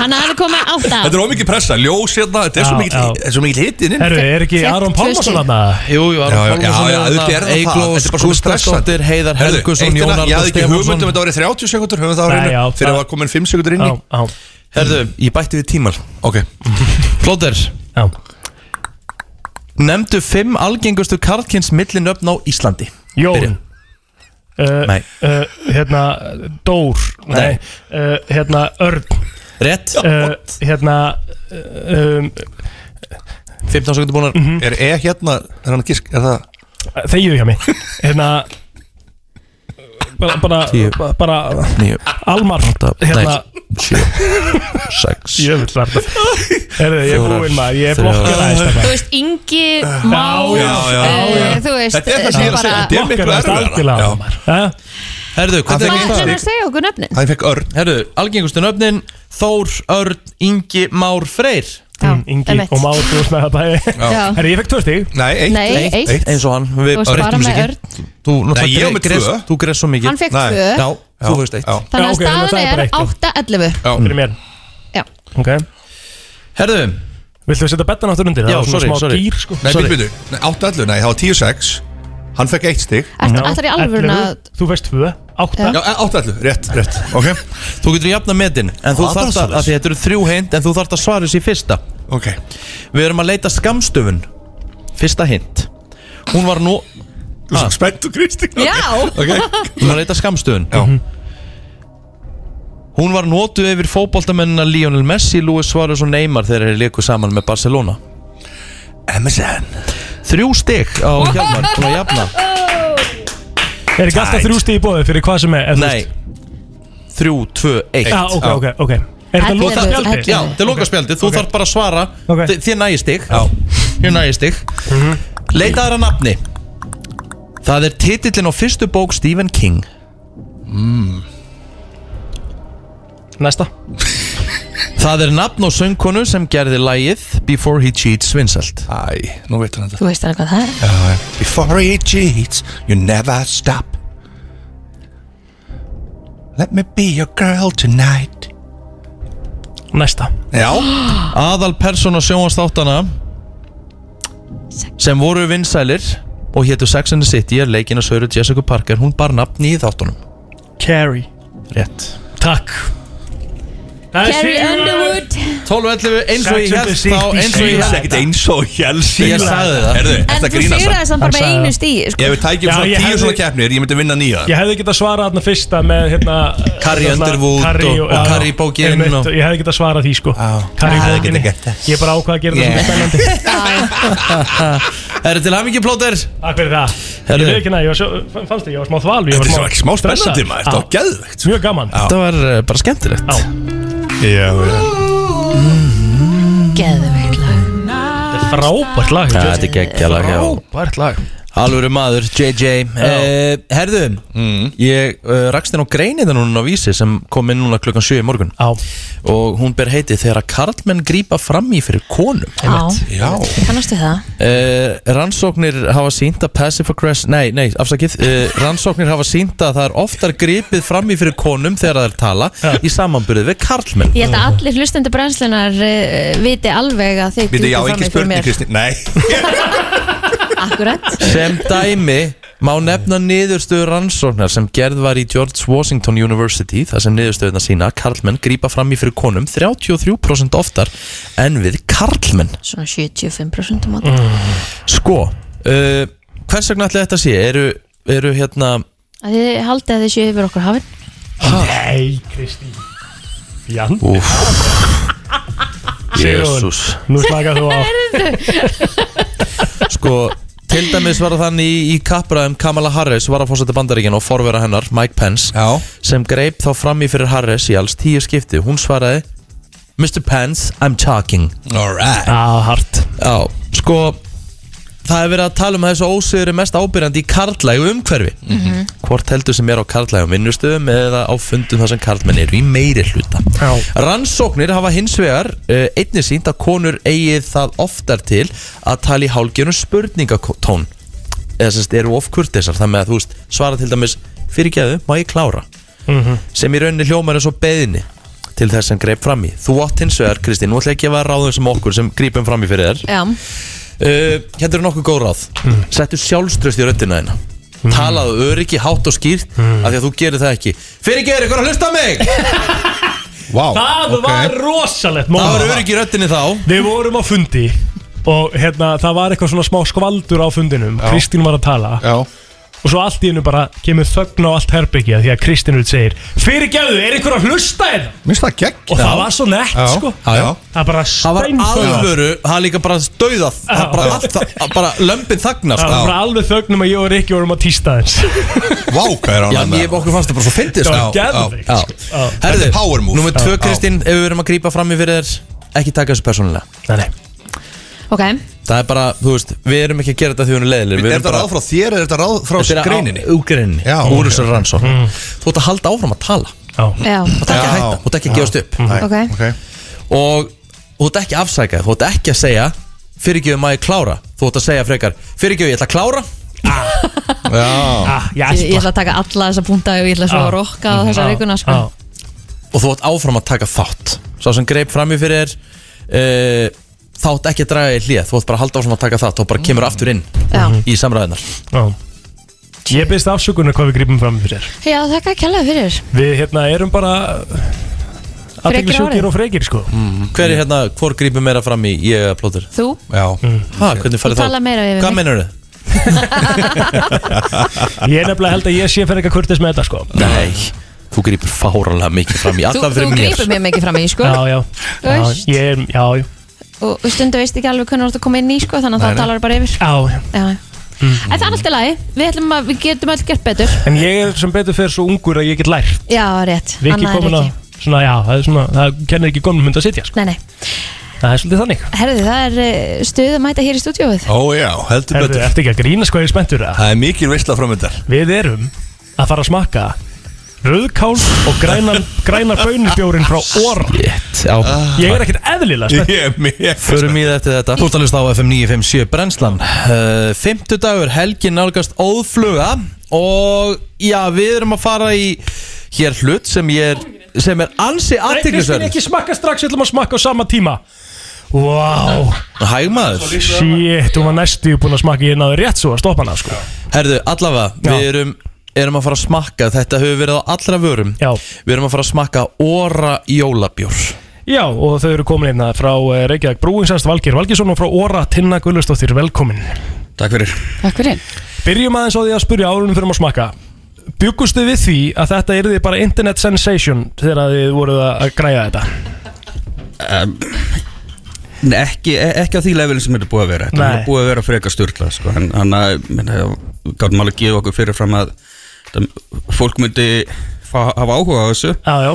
hann hafði komið Þetta alltaf er ómikið pressa, ljós hérna Þetta er svo Já, mikill- já. þetta er svo mikið hitinn inn Herru, er ekki Fékk Aron tvö stig. Pálmarsson aðna? Jú, jú, Já, já, Aron já, já, auðvitað er það það. Eiglós, Þetta er bara svona Gustafsdóttir, stressandi. Heiðar Herðu, Helgusson, eitt er að- Jón Ég Arnald hafði ekki hugmynd um Stefánsson þetta árið 30 sekundur Höfum það á Nei, já, reynu Fyrir það- að var komin 5 sekundur inn Já, í já, Herðu, ég bætti við tímar Ok Plóter, já nefndu fimm algengustu karlkins millinöfn á Íslandi Jón Byrja. Uh, Nei. uh, hérna Dór Nei. Nei. Uh, hérna Örn Rétt, uh, hérna uh, um, 15 sekundur búnar Er E hérna, er hann að gísk, er það þegju hjá mig hérna bara, Tíu. bara, bara 9, Almar 8, hérna 7, 6 Jöfull var þetta Herðu, ég er Fjórar, búinn maður, ég er þrjár. blokkjað aðeins Þú þetta veist, Ingi, Má já, já, eh, já. Þú veist, Þetta er það sem ég er að bara- segja, þetta er miklu Blokkjað aðeins erfiðara algjörlega Já. á maður Ha? Herðu, Hann hvernig fekk er Hvað eitt það? ætlar stig. hann að segja okkur nöfnin? Það fekk örn Herðu, algengustu nöfnin Þór, Örn, Ingi, Már, Freyr Já, Ingi einmitt. og Már, þú veist með þetta Já. Já. Herðu, ég fekk tvö stig Nei, eitt Nei, Nei, eitt. eitt. Eins og hann, við Þú varst bara breyttum með sig Örn. ekki. Þú, Nei, ég var með gres, tvö. þú greist svo mikið Hann fekk Nei. tvö Já, þú Já, veist eitt já. Þannig Já, að ok, þannig að það staðan er bara er eitt, já. 8-11 fyrir mér Já. Ok Herðu, Viltu við setja bettan áttur undir? Já, Það var svona sorry, smá sorry. Gýr, sko. Nei, Sorry. býttu, býttu Nei, 8-11, nei, það var 10-6 Hann fekk eitt stig Já. Ætlar í alvöru að 11, Þú veist tvö, Mhm. átta Já, 8-11, rétt, rétt Ok, þú getur jafna metin En þú Það er þarft að, svoleiðis. að því þetta eru þrjú heind En þú þarft að svara þessi fyrsta ok Við erum að leita skamstöfun Fyrsta hint Hún var nú, Þú veist, spennt og kristing Já, Ok, við erum að leita skamstöfun já Hún var notuð yfir fótboltamennina Lionel Messi, Luis Suárez og Neymar þegar þeir leku saman með Barcelona MSN Þrjú stig á Hjalmar, hún var jafna Oh. Er ekki alltaf Tight. þrjú stíð í bóði fyrir hvað sem er? ef þú Nei, veist? þrjú, tvö, eitt Já, Ah, ok, Já. ok, ok Er þetta Ellefu, loka ellefu. spjaldi? Já, þetta er lokaspjaldið, þú þarf bara að svara Ok. Mhm. okay. Þið nægir stig Þið nægir stig Leitaðar að nafni Það er titillin á fyrstu bók Stephen King Mm. Næsta Það er nafn og söngkonu sem gerði lægið Before he cheats vinsalt Æ, nú veit hann þetta þú veist alveg hvað það er Já, já. Before he cheats, you never stop Let me be your girl tonight Næsta Já, Aðal persóna sjónastáttana sem voru vinsælir og hétu Sex and the City er leikinn að Söru Jessica Parker hún bar nafni í þáttunum Carrie Rétt Takk Það er Carrie sigur. Underwood 12.11 eins og ég held þá eins Eins og ég held ekkert eins og hélst Ég sagði það. Herðu, En þetta þú grínast sigraði samt Hann bara með sagði einu það. stíð sko. Ef við tækjum Já, svona ég tíu hefði- svona keppnir, ég myndi vinna nýja Ég hefði getað svarað þarna fyrsta með hérna Carrie hérna, Underwood Carrie og- og já, Carrie Bókin einmitt, og- Ég hefði getað svarað því sko Carrie Ég hefði Bókin getað gert það. Ég bara ákvað að gera Yeah. það sem er spennandi Er þetta til hamingi plóter? Takk fyrir það Herðu. Ég veit ekki næ, ég var svo- fann- fannst þið, ég var smá þvalur Þetta er svona smá spennandi maður, þetta var geðvegt Mjög gaman Já. Þetta var eh, bara skemmtilegt Já. Geðveikt lag. Þetta er frábært lag Ja, Þetta er geggjala Frábært lag Alvöru maður, JJ uh, Herðu, Mm. ég uh, rakst þér á greinina núna á vísi sem kom inn núna klukkan 7 í morgun Já, og hún ber heiti þegar að karlmenn grípa fram í fyrir konum Já, Já, kannast við það Uh, rannsóknir hafa sínt að passive aggressive, nei, nei, afsakið uh, rannsóknir hafa sínt að það er oftar gripið fram í fyrir konum þegar það er tala í samanbyrðið við karlmenn Ég held að allir hlustendur brennslunar uh, viti alveg að þið Viti, já, grípið fram engin í fyrir spurning, mér. Kristín Nei, Akkurat sem dæmi má nefna niðurstöðu rannsóknar sem gerð var í George Washington University þar sem niðurstöðuna sína að karlmenn grípa fram í fyrir konum 33% oftar en við karlmenn Svona 75% um að Mm. sko, uh, hvers vegna ætli þetta sé eru, eru hérna Þið haldið að þið séu yfir okkur hafinn Nei, Kristín Jan, úf Sigurður. Jésús nú slakað þú á sko Til dæmis var það þannig í, í kappræðum Kamala Harris var að fórsætti bandaríkinn og forvera hennar Mike Pence já sem greip þá fram í fyrir Harris í alls tíu skipti hún svaraði Mr. Pence, I'm talking Alright Já, hart Já, sko Það er verið að tala um að þessu ósigur er mest ábyrjandi í karlægu umhverfi Mhm. Hvort heldur sem er á karlægum vinnustöðum eða á fundum þar sem karlmenn eru í meiri hluta Já. Rannsóknir hafa hins vegar uh, einnig sínt að konur eigið það oftar til að tala í hálgjörnum spurningatón eða sem sagt eru of kurtisar þannig að þú veist svara til dæmis fyrirgeðu, má ég klára Mhm. sem í rauninni hljómar eins og beðinni til þess sem greip fram í þú átt hins vegar, Kristín, nú ætla ég að gefa ráðum sem okkur sem grípum fram í fyrir þér Já, uh, Hérna eru nokkuð góð ráð Mm. Settu sjálfströst í röddina þína Talaðu öryggi, hátt og skýrt Mm. af því að þú gerir það ekki Fyrir gerir, ykkur að hlusta á mig Vá, Það ok. var rosalegt Það var moment. öryggi í röddinni þá Við vorum á fundi og hérna, það var eitthvað svona smá skvaldur á fundinum Kristín var að tala Já, og svo allt í hennu bara kemur þögn á allt herbyggja því að Kristín út segir Fyrirgefðu, er einhver að hlusta þér? minnst það gegn Og það var svo nett Já. sko Já, já. Það bara Það var steinþögn alvöru, það er líka bara dauðað Það er bara Já. allt, það er bara sko. lömpin þagnar Það var bara alveg þögnum að ég og Rikki vorum að tísta þess Vá, hvað er hann Já, en ég, okkur fannst það bara svo fyndið Það sko. var Já, já, geðveikt Já. sko. Já. Þetta er power move. Númer tvö, Já. Kristín, ef við verum að grípa fram í fyrir þér Ekki taka þessu persónulega Nei, nei. ok Það er bara, þú veist, við erum ekki að gera þetta því hún er leiðileg Er þetta ráð frá þér eða er þetta ráð frá greininni? Úr greininni, Já. úr þessar rannsókn Þú ert að halda áfram að tala Mm. Já. Já, Þú ert ekki að Já. hætta, þú ert ekki að gefast upp Nei, Ok. Og þú ert ekki að afsæka, þú ert ekki að segja Fyrirgjöfum að ég klára Þú ert að segja frekar, fyrirgjöfum ég ætla að klára Já, Ah, ég ég, ég ætla ætla að taka alla þessa púnta og ég ætla svo Já. Mhm. að rokka á þessa Já, vikuna sko. já. Og þú ert áfram að taka þátt Sá sem greip fram í fyrir er uh, Þá ert ekki að draga í hlýð Þú ert bara að halda áfram að taka þátt Þú bara kemur aftur inn Mhm. Já. í samræðinar Já. Ég byrst afsökunar hvað við grípum fram fyrir Já, þakka að kella fyrir Við hérna erum bara Aðtekli sjúkir árið. og frekir sko Mm. Hver er hérna, hvor grípur meira fram í ég eða plótur? Þú, já Ha, hvernig þú farið tala þá? meira við Hvað mig mennur þið? Ég er nefnilega held að ég sé fyrir eitthvað kurtis með þetta sko Nei, þú grípur fáralega mikið fram í Þú, Alltaf þú fyrir mér grípur mér mikið fram í sko. Já, já, já, veist. ég er, já, já, og, og stundu veist ekki alveg hvernig þú ert að koma inn í sko, þannig að þá talar bara já, yfir Mhm. já. Já. En það er alltaf lagi, við, ætlum að, við getum öll gert betur En ég er sem betur fyrir svo ungur að ég get lært Já, rétt, Viki annað komin er að, ekki svona, já, það er svona, það kennir ekki gömlum hund að sitja, sko Nei, nei, Það er svolítið þannig herðu það er eh, stuð að mæta hér í stúdíóið Ó já, heldur Erðu betur eftir ekki að grína sko ég er spenntur að Það er mikil veistla framöndar Við erum að fara að smakka Rauðkál og grænar, grænar bönubjórin frá Óra Shit, já, Ég er ekkert eðlilega Ég spennt er mjög Förum í það eftir þetta Þú ert að hlusta á FM 957 Brennslan uh, Fimmtudagur, helgin nálgast óðfluga Og já, við erum að fara í Hér hlut sem ég er Sem er ansi Nei, Kristín aðtiklisverð ekki smakka strax, við ætlum að smakka á sama tíma Vá, wow. Hægmaður shit, hún var næstu búin að smakka ég náði rétt svo að stoppa hana sko Herðu, allavega, við Já. erum Erum að fara að smakka, þetta hefur verið á allra vörum Já. Við erum að fara að smakka Óra jólabjór Já, og þau eru komin hérna frá eh, Reykjavík Brúingsast, Valgir Valgisson og frá Óra Tinna Gullustóttir, velkomin Takk fyrir Takk fyrir Byrjum aðeins á því að spyrja árunum fyrir að smakka Bjuggustu við því að þetta yrði bara internet sensation þegar að þið voruð að græja þetta? Nei, ekki, e- ekki á því levelin sem þetta er búið að vera Þetta Nei. er búið að vera frekar sturla sko. en þannig að gáttum alveg að gefa okkur fyrirfram að þetta- fólk myndi fá, hafa áhuga á þessu Já, já,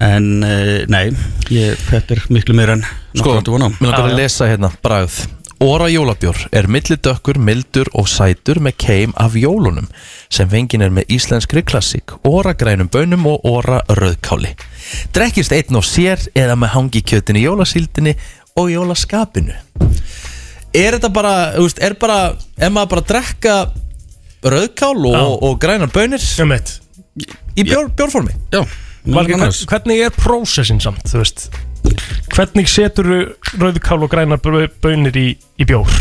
en uh, nei, ég, þetta er miklu meira en Sko, nokkuð áttu vona á mér langar Já, að já. lesa hérna bragð Óra jólabjór er millidökkur, mildur og sætur með keim af jólunum sem fengin er með íslenskri klassík Óra grænum bönum og óra rauðkáli Drekkist einn og sér eða með hangi kjötin í jólasíldinni og jólaskapinu Er þetta bara, þú veist, er bara er maður bara að drekka rauðkál og, Já. og, og grænar bönir um eitt í bjór, bjórformi Já, Valgir, meðal hvern, annars. hvernig er prósessin samt, þú veist? Hvernig setur rauðkál og grænar bau- baunir í, í bjór,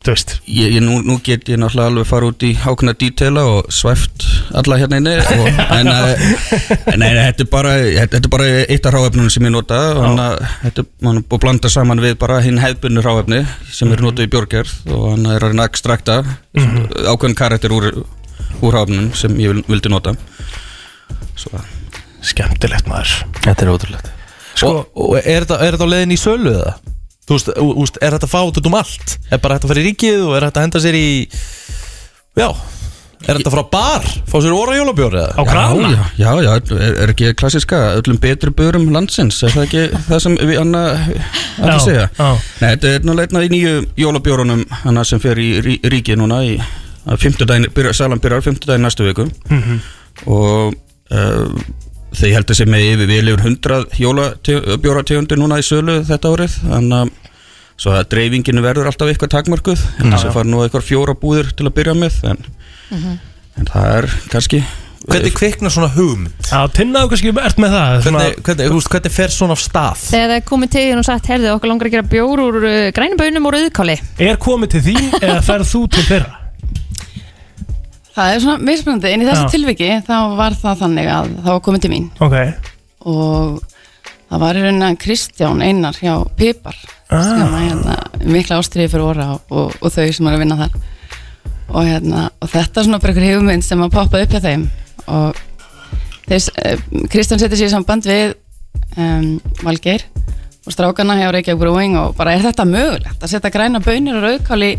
þú veist? ég, ég, nú, nú get ég náttúrulega alveg fara út í hákna dítela og svæft alla hérna inni og, en, eh, en nei, nei, þetta er bara þetta þetta er bara eitt af ráefnunum sem ég nota og hann að- þetta er mann búið að blanda saman við bara hinn hefbunni ráefni sem Mhm. er notað í björgerð og hann er að reyna að ekstrakta ákveðin karakter úr, úr ráefnunum sem ég vil, vildi nota Svo, að- Skemmtilegt maður Þetta er ótrúlegt Sko- Og, og er, þetta, er þetta á leiðin í sölu eða? Þú veist, ú- úst, er þetta að fá út út um allt? Er bara þetta að fara í ríkið og er þetta að henda sér í Já, er þetta að fara á bar? Fá sér óra jólabjór Á eða? krana? já, já, já, er, er ekki klassiska öllum betri börum landsins er það ekki það sem við annað að Já, segja já. Nei, þetta er náttúrulega einn af í nýju jólabjórunum annað sem fer í rí, ríkið núna í að fimmtudaginn, byrja, salan byrjar fimmtudaginn næstu viku Mhm. Hmm. og uh, þegar ég held að sem með yfir við lifur hundrað jólabjórategundir núna í sölu þetta árið þannig að svo að dreifinginu verður alltaf eitthvað takmarkuð en þess að fara nú eitthvað fjóra búðir til að byrja með en, Mhm. en það er kannski Hvernig kviknar svona hugmynd? Já, tinnaðu kannski ert með það svona- Hvernig, hvernig, þú veist, hvernig fer svona af stað? Þegar það er komið til þín og sagt, heyrðu, okkur langar að gera bjór úr uh, grænubönum og rauðkáli Er komið til þín eða ferð þú til þeirra? Það er svona mismunandi, en í þessu Já. tilviki þá var það þannig að það var komið til mín Ok og það var í rauninni hann Kristján Einar hjá Pipar Ah. sem er hérna, mikla ástriði fyrir orra og, og þau sem eru að vinna þar og, hérna, og þetta er svona bara einhver hefuminn sem að poppaði upp hjá þeim og þess, eh, Kristján setti sér í samband við um, Valgeir og strákana hjá Reykjavík Brewing og bara er þetta mögulegt að setja græna bönir og rauðkáli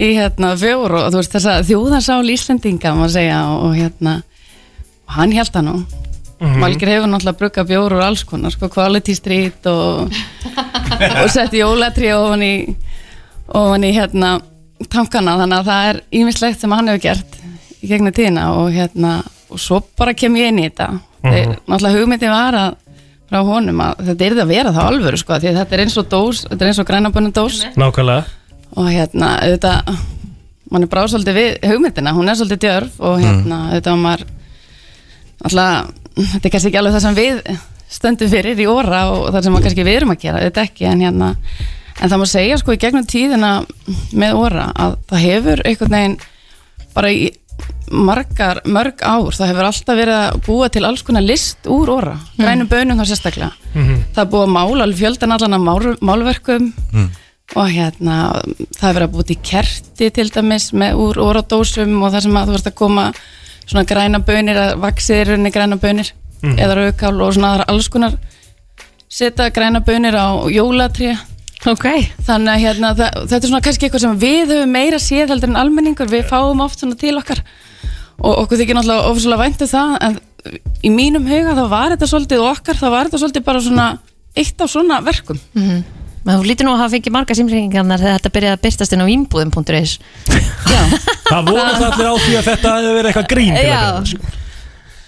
í hérna fjór og þú veist þessa þjóðarsál Íslendinga má segja og, og hérna og hann held það nú Mhm. Valgir hefur náttúrulega bruggað bjór úr alls konar sko quality street og og sett jólatrí ofan í ofan í hérna tankana þannig að það er ímislegt sem hann hefur gert í gegnum tíðina og hérna og svo bara kem ég inn í þetta Mhm. mm Eh. náttúrulega hugmyndin var að frá honum að þetta er að vera það alvöru sko því að þetta er eins og dós, þetta er eins og grænabönnum dós Nákvæmlega og hérna auðvitað mann er bráð svolítið við hugmyndina hún er svolítið djörf og hérna auðvitað var maður alltaf þetta er kannski ekki alveg það sem við stöndum fyrir í óra og það sem maður kannski við erum að gera auðvitað ekki en hérna en það má segja sko í gegnum tíðina með óra að það hefur einhvern veginn bara í margar, mörg ár það hefur alltaf verið að búa til alls konar list úr óra, grænum bönum þá sérstaklega Mhm. það er búið að mála alveg fjöldan allan af mál, málverkum og hérna það er verið að búið til kerti til dæmis með úr óradósum og það sem að þú veist að koma svona græna bönir að vaxið er unni græna bönir eða raukál og svona það er alls konar setja græna bönir á jólatrí Ok þannig að hérna, það, þetta er svona kannski eitthvað sem við höfum meira séð heldur en almenningur við fáum oft svona til okkar og okkur þykir náttúrulega ofislega væntu það en í mínum huga þá var þetta svolítið okkar, þá var þetta svolítið bara svona eitt af svona verkum Hm. Mhm. Þú lítur nú að hafa fengið marga símringingarnar þegar þetta byrjaði að byrtast inn á ímbúðum.is Já, Það voru það allir á því að þetta hefði verið eitthvað grín til að Já. gera, sko.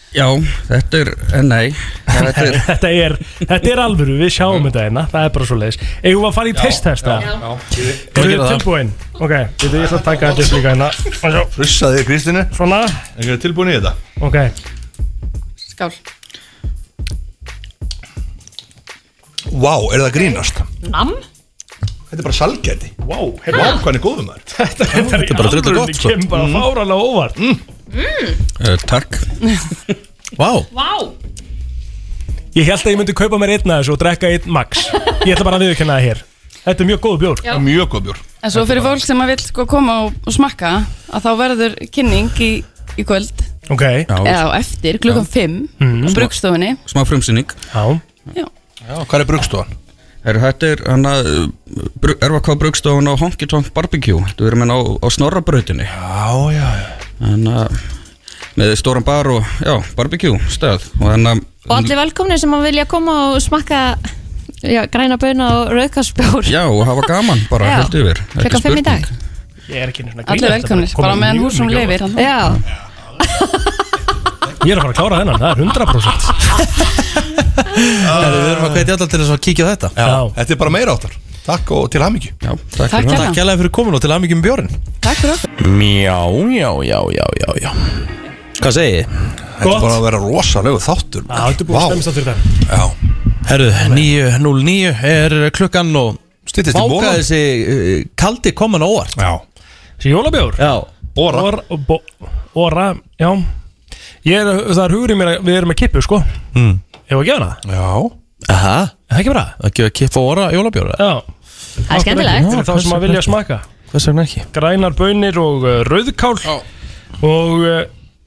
Já, þetta er, eh, nei Þetta er, Mm. þetta, er, þetta er alvöru, við sjáum þetta hérna Það er bara svo leiðis Eigum við að fara í testtest það? Gera Eru þið það. tilbúin? Ok, þetta er ég ætla að taka þetta upp líka hérna Og sjá, Russaði Kristínu Svona, Er það tilbúin í þetta? ok skál Vá, er það að grínast? Nam? Þetta er bara salgæti Vá, Wow, Vá hvað hann er góðum þær þetta er bara drullu gott, sko. Kemur Mm. bara fáralega Mm. óvart Eh, uh, takk Vá, Vá Ég held að ég myndi kaupa mér einn af þessu og drekka einn max Ég ætla bara að viðurkenna það hér Þetta er mjög góð bjór Já. Mjög góð bjór En svo fyrir fólk sem að vill sko koma og, og smakka að þá verður kynning í, í kvöld Ok eða á eftir klukkan 5 á Mhm. brugstofunni smá frumsýning Já, Já. Hvað er brugstofan? Þetta er hann að erfa hvað brugstofan á Honky Tonk Barbecue Þetta verður menn á, á snorrabrautinni Já, já, já En að með stóran bar og, já, barbecue stöð og hann að Og allir velkomni sem að vilja koma og smakka já, græna böna og rauðkarsbjór Já, og hafa gaman bara, Já. held yfir Ekki klukkan 5 í spurning. dag Ég er ekki einu svona að Allir grínast, velkomnir, þetta er bara bara komið meðan mjög húsum mikið á leifir Já, Ég er að fara að klára þennan, það er 100% Herri, við erum að hvetja alla til þess að kíkja á þetta Já. Þetta er bara meira áttar Takk og til hamingju Já, Takk, Takk fyrir- hérna. takk hérlega fyrir komin og til aðmyggjum bjórin Takk fyrir okkur Já, já, já, já, já, já Hvað segi ég? Þetta er bara að vera rosalegu þáttur Já, þetta er búin að stemmast á fyrir það Herru, 9.09 er klukkan og Styttist í Váka bolann. þessi uh, kaldi komin á óvart Já Þessi jólabjór Já, Óra Or, bo, Óra, já Ég er, það er hugur í mér að við erum að kippu, sko mm. Ég var að gefa hana, Já aha, Er það ekki bara að gefa kippa óra jólabjóra Já, það er skemmtilegt fyrir þá sem að vilja smaka Hvers vegna ekki? Grænar bönir og uh, rauðkál Já. Og uh,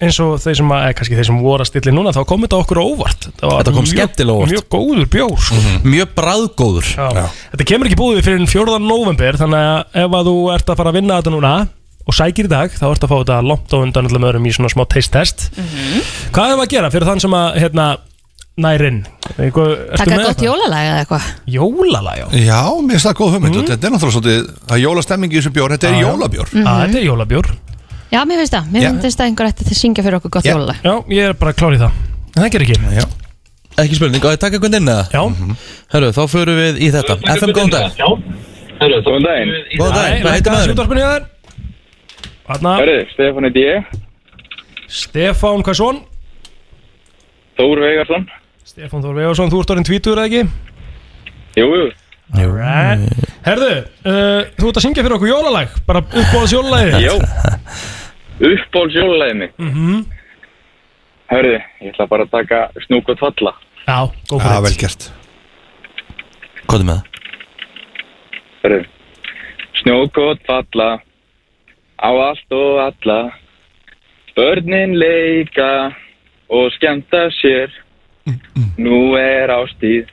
eins og þeir sem að, eða kannski þeir sem voru að stilli núna Þá kom þetta okkur á óvart var Þetta kom mjög- skemmtilega á óvart. Mhm. Mjög góður bjór, sko Mjög bræðgóður Já. Já. Þetta kemur ekki búið fyrir 4. november þannig að ef að þú ert að fara að vinna þetta núna og sækir í dag, þá ert að fá þetta langt á undan öllum öðrum í svona smá taste test Hvað hefum að gera fyrir þann sem að hérna, nærinn? Takka Takka gott jólalag eða eitthvað Jólala, já Já, mér finnst það góð hugmynd Mm. Þetta er náttúrulega svolítið Það er jólastemmingi í þessu bjór Þetta er Já, já. jólabjór mm Þetta er jólabjór Já, mér finnst það, mér Já. finnst það einhver ætti að syngja fyrir okkur gott Já. jólalag Já, ég er bara klár í það En það gerir ekki Já Ekki spurning, á ég taka hvernig inn eða? Mhm. Já, Herru, þá förum við í þetta FM, góðan dag Góðan daginn Góðan dag, Æ, hvað heitir lækka þessu maðurinn? útvarpinu hjá þér Þarna, Hörru, Stefán heiti ég Stefán Kvason Þór Veigarsson Stefán Þór Vegarsson, þú ert orðin tvítur eða ekki? Jú, jú Alright. Herðu, uh, þú ert að syngja fyrir okkur jólalag Bara uppbóðs jólalagið Já Uppból sjólulegðinni mm Hörru, ég ætla bara að taka snúk og tvalla Já, go Já, for vel it gert Hvað er með það? Hörru Snúk og tvalla Á allt og alla Börnin leika Og skemmta sér Nú er ástíð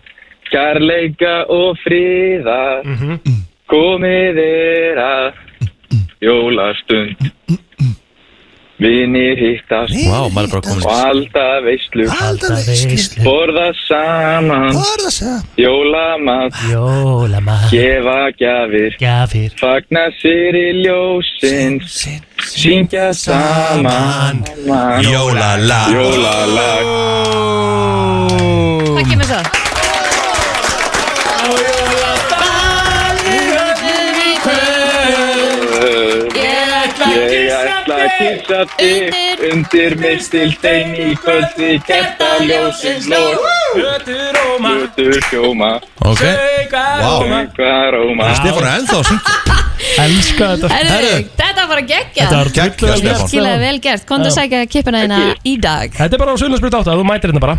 Kærleika og fríðar Mhm. Komið er að Jólastund Vinir hittast Vá, maður er bara og komin halda veislu Alltaf veislu. borða saman, Borða saman. jólamat Jólamar gefa gjafir, Gjafir fagna sér í ljósins syngja saman Jólalag jólalag Takk ég með það ég ætla að kissa þig undir mig stilt einn í kvöldi kerta ljósins lóð Ötur og maður hlutu hjóma Ok, Vá hvað róma Stefán er ennþá að syngja Elska þetta Herðu, þetta var bara geggja Þetta var Gekkja vel Stefán gert. Skilaði vel gert, komdu að sækja kippina þína í dag Þetta er bara á Suðlandsbrut 8, þú mætir hérna bara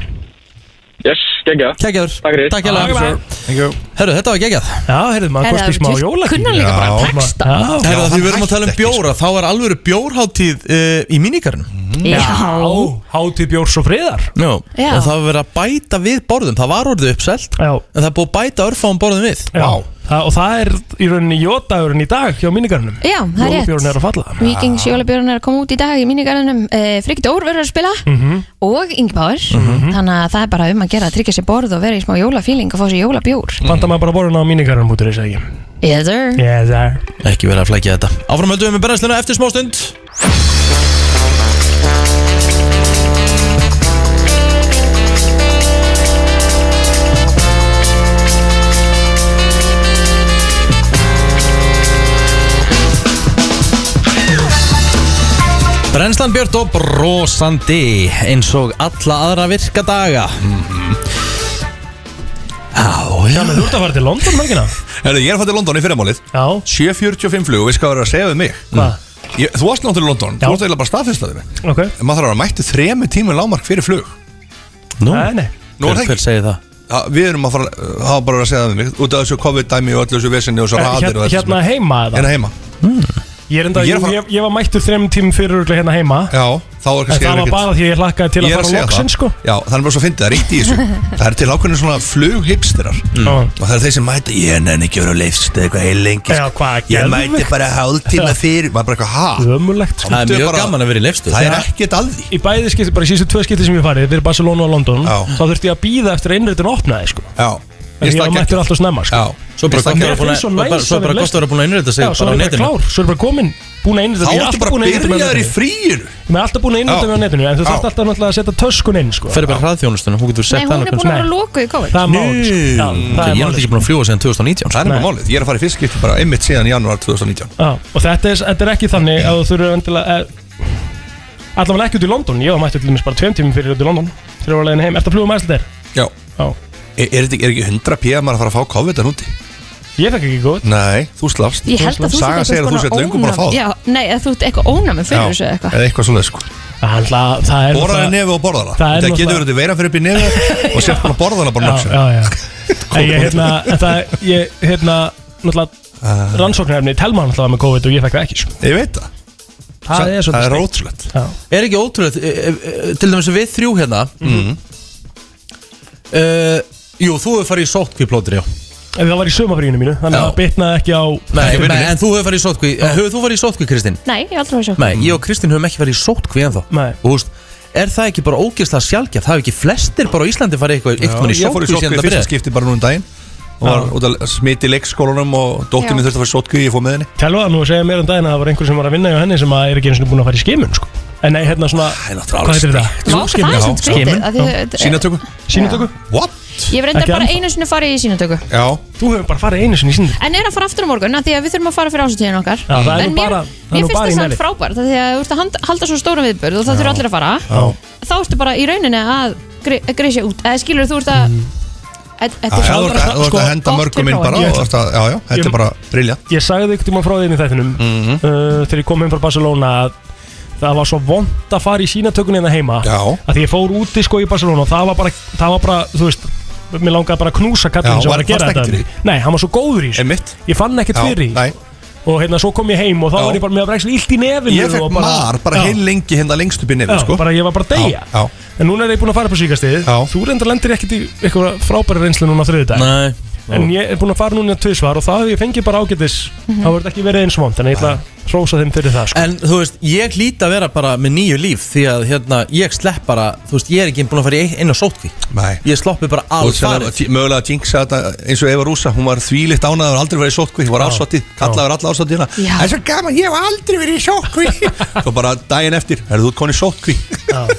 yes, gengja kegjaður Takk fyrir. Takk hérlega Thank you Herru, þetta var geggjað Já, heyrðu, maður kosti smá jólag kunnan líka Já, bara maður- texta Já, Herru, Já, því hann við erum að tala um hætti ekki, sko. bjóra Þá er alvöru bjórháttíð uh, í mínikarinn Mhm. Já, hátíð bjórs og friðar Já Já. Og það var verið að bæta við borðum Það var orðið uppselt Já, En það er búið að bæta örfáum borðum við já. Það, Og það er í rauninni jótagurinn í dag hjá mínigarnum já, það er rétt Jólabjórn er að falla Ah. Víkings jólabjörn er að koma út í dag í mínigarðinum e, Frigg Dór verður að spila Mhm. Mm. og Ingi Báður þannig að það er bara um að gera að tryggja sér borð og vera í smá jólafíling og fá sér jólabjór Mm. Fanta maður bara borðin á mínigarnum út í þessu ekki Yes sir Yes, sir Ekki verið að flækja þetta Áfram höldum við með brennsluna eftir smá stund Brennslan Björn og brosandi eins og alla aðra virka daga Já, já Þannig þú ert að fara til London mörgina Herðu, ég er fætt í London í fyrramálið Já, 7.45 flug og við skal vera að segja við mig hvað? ég, Þú varst náttúrulega í London, Já. þú varst eiginlega bara staðfyrstaði mig Ok En maður þarf að vera mættu þremi tímum lámark fyrir flug Nú, Nei, nei Nú er það Hver- hver segir það? Ja, við erum að fara, uh, hafa bara verið að segja það við mig Út af þessu COVID-dæmi og öllu þessu vesinni og svo Eh, raðir og hérna- þetta sem hérna er- heima eða? Hérna heima Ég, er enda, Ég ég, er að fara- ég, ég var mættur þrem tímum fyrir örugglega hérna heima Já, þá er En kannski það var ekkert- bara því að ég hlakkaði til að Ég er fara segja loksins það. sko Já, það er bara svo fyndið, það er eitt í þessu Það er til ákveðinu svona flughipsterar Mm. Já. Og það er þeir sem mæta, ég nenni ekki að vera á leifst eitthvað heil lengi Já, hvað, Ég mæti geðveikt. bara Já. hálftíma fyrir Maður bara eitthvað, ha? Ömurlegt Það er Komdu mjög bara- gaman að vera í leifstöð. Það er ekkert að því Í bæði skipti, bara í síðustu tvö skipti sem ég hef farið Fyrir Barcelona og London Þá þurfti ég að býða eftir að innréttin opnaði sko Já En ég var mættur alltaf snemma sko Svo bara gott Mér að vera finnst búin svo að- næs bara- svo að bara vera gott að vera búin að innrétta sig Já, bara svo á er ég bara netinu. klár, svo er ég bara komin Búin að innrétta Þá ég er ertu alltaf bara búin að innrétta mig á byrjaður í netinu. fríinu. Ég er alltaf búin að innrétta Já. mig á netinu En þú Já. þarft alltaf náttúrulega að setja töskun inn sko Fyrir bara hraðþjónustuna, hún getur Nei, sett hún hana er búin að vera lokuð í COVID Það er málið, sko. Já, Ég er náttúrulega það er málið. sko. ekki búin að fljúa síðan 2019 Það er nefnilega málið, ég er að fara í fyrst skipti bara einmitt síðan januar 2019 Já, og þetta er, þetta er ekki þannig að þú þurfur endilega eh, Allavega ekki út í London, ég var mættur til dæmis bara tveim tímum fyrir út í London Þegar ég var leiðin heim, ertu að um fluga með æslandir? Já, Já. Er, er, þetta ekki- er ekki 100 p að maður að fara að fá COVID en úti? Ég fekk ekki COVID Nei, þú slafst Ég held að þú Saga segir að þú sett löngu búin að fá það Já, nei, að þú ert eitthvað ónæmi fyrir þessu eða eitthvað eða eitthvað svoleið sko Alltaf, það er Borðaði náttúrulega- nefi og borðana Það er Það getur náttúrulega- verið veira fyrir upp í nefi og sett bara borðana bara nokkuð Já, já, já En ég, hérna, en það, ég, hérna, náttúrulega Rannsóknarefni, telma hann alltaf með COVID og ég fekk það ekki sko. Ah. Ég veit það Það er svolítið snilt. ótrúlegt Já. Er ekki ótrúlegt e- e- e- Til dæmis við þrjú hérna Mhm. mm. Jú, þú hefur farið í sótkví plótur, já En það var í sömafríinu mínu, þannig að Já. það bitnaði ekki á Nei, nei, en þú hefur farið í sótkví Hefur þú farið í sótkví, Kristinn? Nei, ég hef aldrei var sjokk Nei, ég og Kristinn höfum ekki farið í sótkví ennþá Nei. Og þú veist, er það ekki bara ógeðslega sjálfgjaf? Það hefur ekki flestir bara á Íslandi farið eitthvað Já, Eitthvað mann í Ég fór í sótkví sótkvíð í síðan það fyrsta byrjaði skipti bara núna um daginn og var út að smiti í leikskólanum og dóttir Já. mín þurfti að fara í sótkvíð ég fór með henni Telvaði nú að segja mér um daginn að það var einhver sem var að vinna hjá henni sem að er ekki eins og búin að fara í skimun sko. En nei, hérna svona, hvað heitir þetta? Vá, það er svolítið skrítið að því- þetta- Sýnatöku? Sýnatöku? What? Ég hef reyndar Ekki bara ennþá. einu sinni farið í sínatöku Já Þú hefur bara farið einu sinni í sýndir En er að fara aftur á morgun, af því að við þurfum að fara fyrir ásatíðin okkar Já, það er En nú mér, bara- það er mér nú finnst bara í það samt næri. frábært af Því að þú ert að hand- halda svo stórum viðbörð og það þurfa allir að fara Þá ertu bara í rauninni að gre- greisja út Eða skilur þú ert að Þetta Já, já, þetta er sko, Þú ert Mm. að- þú ert að henda mörgum inn bara og þú ert að- Já, já, þetta er bara Mhm. brilja Ég sagði ykkur tíma frá þeim í þættinum uh, Þegar ég kom heim frá Barcelona að Það var svo vond að fara í sínatökunina heima Já. Að því ég fór úti sko í Barcelona Og það var bara, það var bara þú veist Mér langaði bara að knúsa kallinn Já, sem var- var að gera varst þetta ekkert í Nei, hann var svo góður í þessu Einmitt. Ég fann ekkert Já, fyrir því nei. Og hérna, svo kom ég heim og þá Já. var ég bara Mér var ekki illt í nefinu Ég fekk og mar bara Já. heil lengi hérna lengst upp í nefið Já, sko bara ég var bara að deyja. Já, já. En núna er ég búin að fara upp á síkastiðið Þú reyndar lendir ekkert í eitthvað frábæri reynslu núna á þriðudag Nei. En ég er búin að fara núna tvisvar og það hef ég fengið bara ágætis Mhm. Það voru ekki verið eins vond En ég ætla að rósa þeim fyrir það sko. En þú veist, ég hlýt að vera bara með nýju líf Því að hérna, ég slepp bara Þú veist, ég er ekki búin að fara í einu sótkví Nei Ég sloppi bara Og allt sem farið hérna, að tí- mögulega að jinxa þetta eins og Eva Rúsa hún var þvílitt ánæður aldrei verið í sótkvíð hún var ásváttið, kallaður alla ásváttið hérna Já. Það er svo gaman, ég hef aldrei verið í sótkvíð Svo sko, bara daginn eftir, er þú konið sótkvíð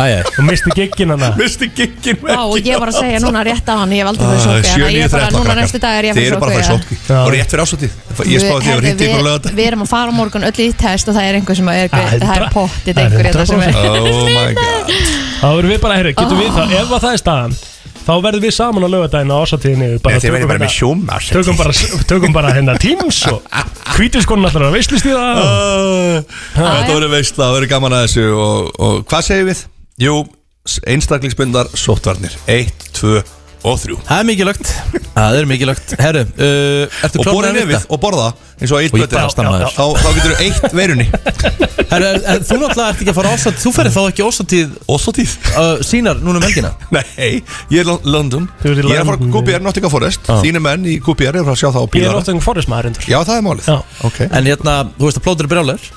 Æja Og misti giggin hana Misti giggin Vá, og ég var að segja núna rétt á hann, ég hef aldrei Ah, farið í sótkví Þannig að ég er bara, núna næstu dag er ég að Þið eru bara að fara fara í í sótkví, sótkví Og rétt fyrir ásváttið Ég spáði því að Herðu, hrýtti ykkur lögat Við erum að fara á morgun öll í test og það er einhver sem er, það er pottið einhver í þetta sem er Oh my god Þá verðum við bara, herru, getum við það Ef að það er staðan, þá verðum við saman á lögadaginn á ásatíðinni Nei, þið verðið bara með hjóma Tökum bara, tökum bara hérna tíms og hvítiskonin allar að veislist í það Oh. Þetta verður veistla, það verður gaman að þessu og, og hvað segir við? Jú, einstaklingsbundar sóttvarnir 1, 2 og 3 Það er mikilvægt Það er mikilvægt Herru, uh, ertu Og klár borða með að nefið vita? og borða eins og eitt Og ég bara stanna þér. Þá, þá getur þú eitt veirunni Herru, er, er, þú náttúrulega ert ekki að fara ásat Þú ferði þá ekki ásatíð Ósatíð? Uh, sínar núna um helgina Nei, ég er í Lon- London Þú ert í Ég er að fara London, QPR Nottingham Forest Já. Þínu menn í QPR er að fara að sjá það á Ég er bílara náttúrulega forðismæður endur Já, það er málið Já. Ok En hérna, þú veist að plótur er brjálæður Það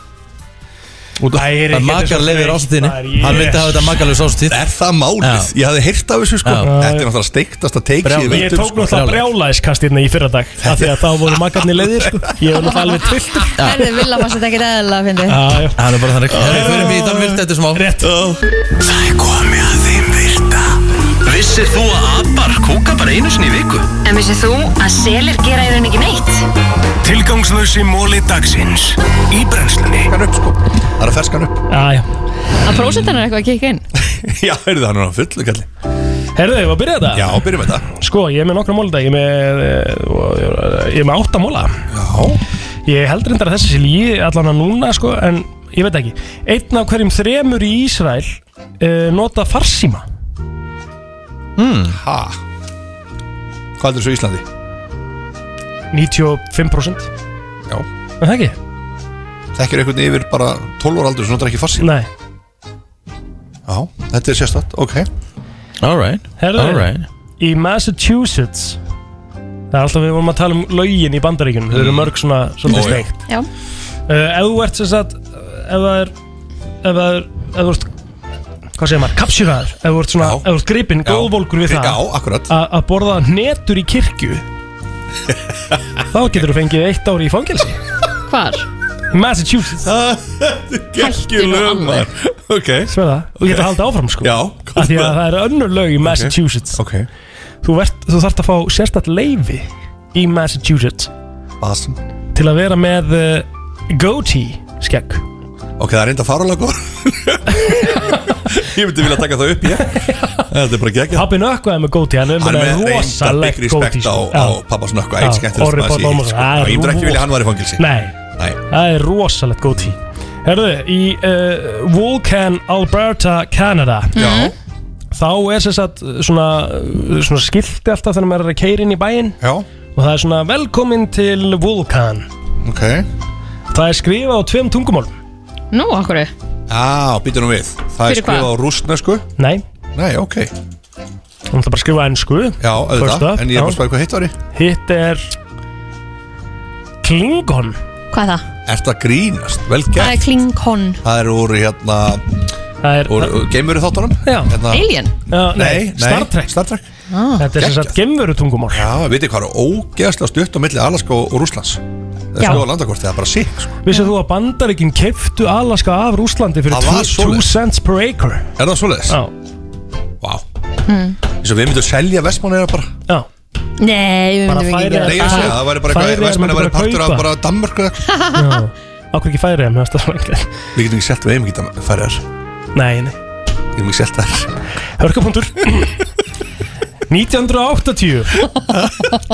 Það makar leiðir ásatíðinni Hann vildi hafa þetta makarlegs ásatíð Er það málið? Já. Ég hafði heyrt af þessu sko Já. Þetta er náttúrulega steiktast að teiki Brjálað. Ég sko. tók náttúrulega brjálæðiskast hérna í fyrra dag af því að þá voru makarnir leiðir sko. Ég var náttúrulega alveg tvilltur Herðu, Villa fannst þetta ekki reðilega að fyndi Hann er bara þannig Herru, förum við í Danvirt þetta smá Rétt Það er komið að þeim virta Vissir þú að abar kúka bara einu sinni í viku? En vissið þú að selir gera í rauninni ekki neitt? Tilgangslösi móli dagsins Í brennslunni Ferskan upp sko Það er að ferskan upp Æja Að prósentan er eitthvað að kikka inn Já, heyrðu það, hann er á fullu kalli Herðu, ég var að byrja þetta Já, byrjum við þetta Sko, ég er með nokkra móla í dag Ég er með, eh, og- ég er með átta móla Já Ég held reyndar að þessi sé líi allan að núna sko En ég veit ekki eh, Einn af hverjum þremur í Ísrael uh, nota farsíma Hmm. Ha? Hvað heldur þessu í Íslandi? 95% Já En það ekki? Þekkir einhvern yfir bara 12 ára aldur sem notar ekki farsi? Nei Já, þetta er sérstætt, ok Alright Herðu, í Massachusetts Það er alltaf við vorum að tala um lögin í bandaríkjunum Þau eru Mm. mörg svona, Ó, svolítið já. steikt Já. uh, Ef þú ert sem sagt uh, Ef það er Ef það er Ef þú ert Hvað segir maður? Kapsjuraður Ef þú ert svona Ef þú ert gripinn Góðvolgur við það Já, akkurat a- Að borða netur í kirkju Þá getur þú fengið eitt ár í fangelsi Hvar? Massachusetts Gekki lögmar Ok Sveða Og getur haldið áfram sko Já Af Því að það er önnur lög í Massachusetts okay. Þú, verð, þú þarft að fá sérstætt leifi Í Massachusetts Basin Til að vera með uh, goatee skegg Ok, það er reynda farulega góð Ég myndi vilja taka það upp, ég Þetta er bara geggjað Pappi nökkvaði með goatee Hann er Hann er með með reynda rosalegt byggri goatee spekt á, sko. á Já. pappa snökk og Já, eitt skemmtilegt Orri Páll Ómarsson, það er sko. Ég myndi ekki rosa- vilja að hann var í fangelsi Nei, Nei. það er rosalegt góti Herðu, í uh, Vulcan, Alberta, Canada Já. Þá er sem sagt uh, svona, uh, svona skilti alltaf þegar maður er að keira inn í bæinn Já Og það er svona velkomin til Vulcan Ok Það er skrifað á tveim tungumálum Nú, okkur Á, býtum við Það er Fyrir hvað? skrifað á rústnesku Nei Nei, ok Hún ætla bara að skrifa ennsku Já, auðvitað En ég er bara að spæða hvað hitt var í Hitt er Klingon Hvað er það? Ertu að grínast? Vel Það gert er Klingon Það er úr hérna Það er Úr geimur í þáttunum Já hérna, Alien? Já, Nei, nei Star Trek Star Trek Ah. Þetta er sem sagt gemveru tungumál Já, veitir hvað er ógeðslega stutt á milli Alaska og, og Rúslands Það er Já. skoða landakort, það er bara sikk sko. Vissið þú að bandaríkinn keiftu Alaska af Rúslandi fyrir Það var 2 svoleiðis. cents per acre Er það svoleiðis? Já Vá Hmm. Eins og við myndum selja Vestmanneira bara Já Nei, við Bara myndum ekki færi- gera Nei, ég sé, það væri bara Færeyjar eitthvað Vestmanneira myndu væri bara partur af kaupa. bara Danmörku eða eitthvað. Já. Á hvað ekki færið með þetta svanglega Við getum ekki selt við eigum ekki færiðar Nei, nei Við getum ekki selt þær Hörkapunktur 1980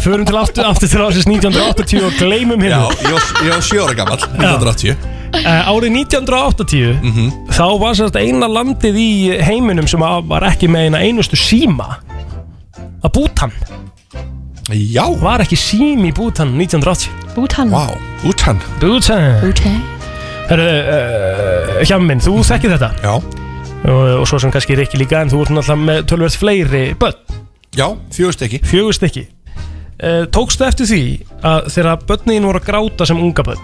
Förum til aftur, aftur til ásins 1980 og gleymum Já, hérna ég var- ég var sjö ára gammal 1980 uh, Árið 1980 Þá var sérst eina landið í heiminum sem að- var ekki með eina einustu síma að Bútan Já Var ekki sími í Bútan 1980 Bútan Vá, Bútan Bútan Bútan Herðu, uh, Hjamminn, þú þekkir þetta Já og, og svo sem kannski Rikki líka en þú ert náttúrulega með tölvöld fleiri börn Já, fjögustykki Fjögustykki uh, Tókstu eftir því að þegar börnin voru að gráta sem unga börn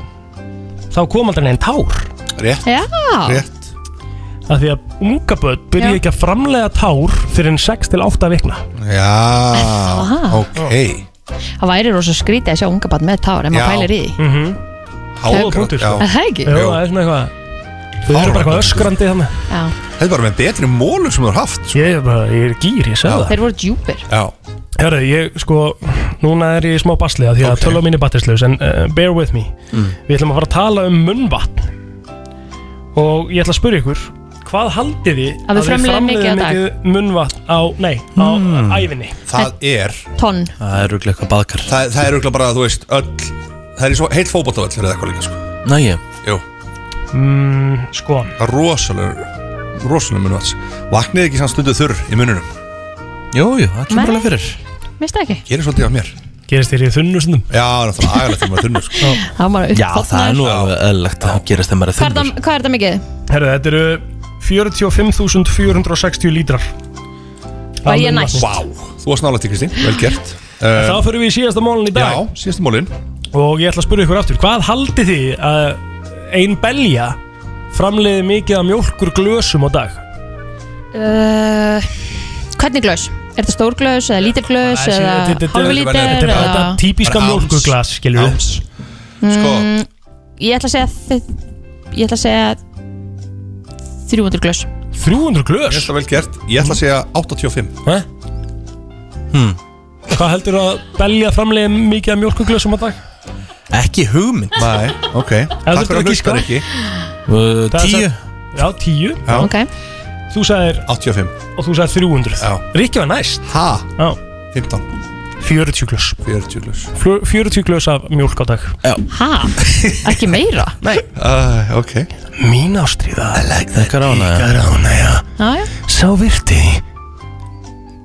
þá kom aldrei neginn tár Rétt Já Rétt af því að unga börn byrja Já. ekki að framlega tár fyrir en 6-8 vikna Já, ok Það væri rosa skrítið að sjá unga barn með tár en maður Já. pælir í því mm -hmm. Háa punktur. Já Er það ekki? sko. Jú, það er svona eitthvað Þau eru bara eitthvað öskrandi þannig Já. Þetta er bara með betri mólu sem þú har haft sko. Ég er bara, ég er gýr, ég Já. segði það Þeir voru djúpir Já, Hörru, ég sko, núna er ég í smá basliða því Ok. að Mm. okay. tölva mín er batterslaus en uh, bear with me Við ætlum að fara að tala um munnvatn og ég ætla að spyrja ykkur hvað haldið þið Að við framleiðum mikið á dag? munnvatn á, nei, á ævinni Mm. það er Tonn Það er rúglega eitthvað baðkar Það, það er auðvitað bara, þú veist, öll Það er svo heilt fótboltavall fyrir eitthvað líka, sko Næ ég Jú, mm, Sko, það er rosalega Rosalega munvats Vaknið ekki samt stundu þurr í mununum Jú, jú, það Nei. kemur alveg fyrir minnst það ekki? Gerir svolítið af mér gerist þér í þunnusundum Já, náttúrulega agalegt þegar maður er þunnur, sko Það var bara Já, það er uppfotnaður nú alveg eðlilegt að gerast þegar maður er Hvað er þunnur það- hvað er það mikið? Herru, þetta eru 45.460 lítrar Var ég næst? Vá, þú varst nálægt í Kristín, vel gert Þá uh, fyrir við í síðasta málun í Já, dag síðustu mólin og ég ætla að spyrja ykkur aftur hvað haldið þið að ein belja framleiði mikið af mjólkur glösum á dag? Uh, Hvernig glös? Er þetta stór glös eða lítil glös Það er- eða þetta- þetta- hálfu lítil þetta- Þetta er bara eða Mm, þetta típiska Bara ounce. mjólkurglas, skilur við Áms Sko, Ég ætla að segja þi- Ég ætla að segja 300 glös 300 ég glös? ætla vel gert Ég ætla að segja 85 Hæ? Hvað heldur að belja framlega mikið af mjólkurglösum á dag? Ekki hugmynd Nei, ok þú Takk ert fyrir að að giska. hlusta ekki Uh, Það er Tíu satt. Já, 10 Já. Ok Þú sagðir, 85 og þú sagðir 300 Já. Rikki var næst Ha, Já, 15 40 glös 40 ljus Flu- 40 glös af mjólk á dag Ha? Ekki meira? Nei uh, Ok Mín ástríða Þakkar ána Rána, já Já, já Sá virti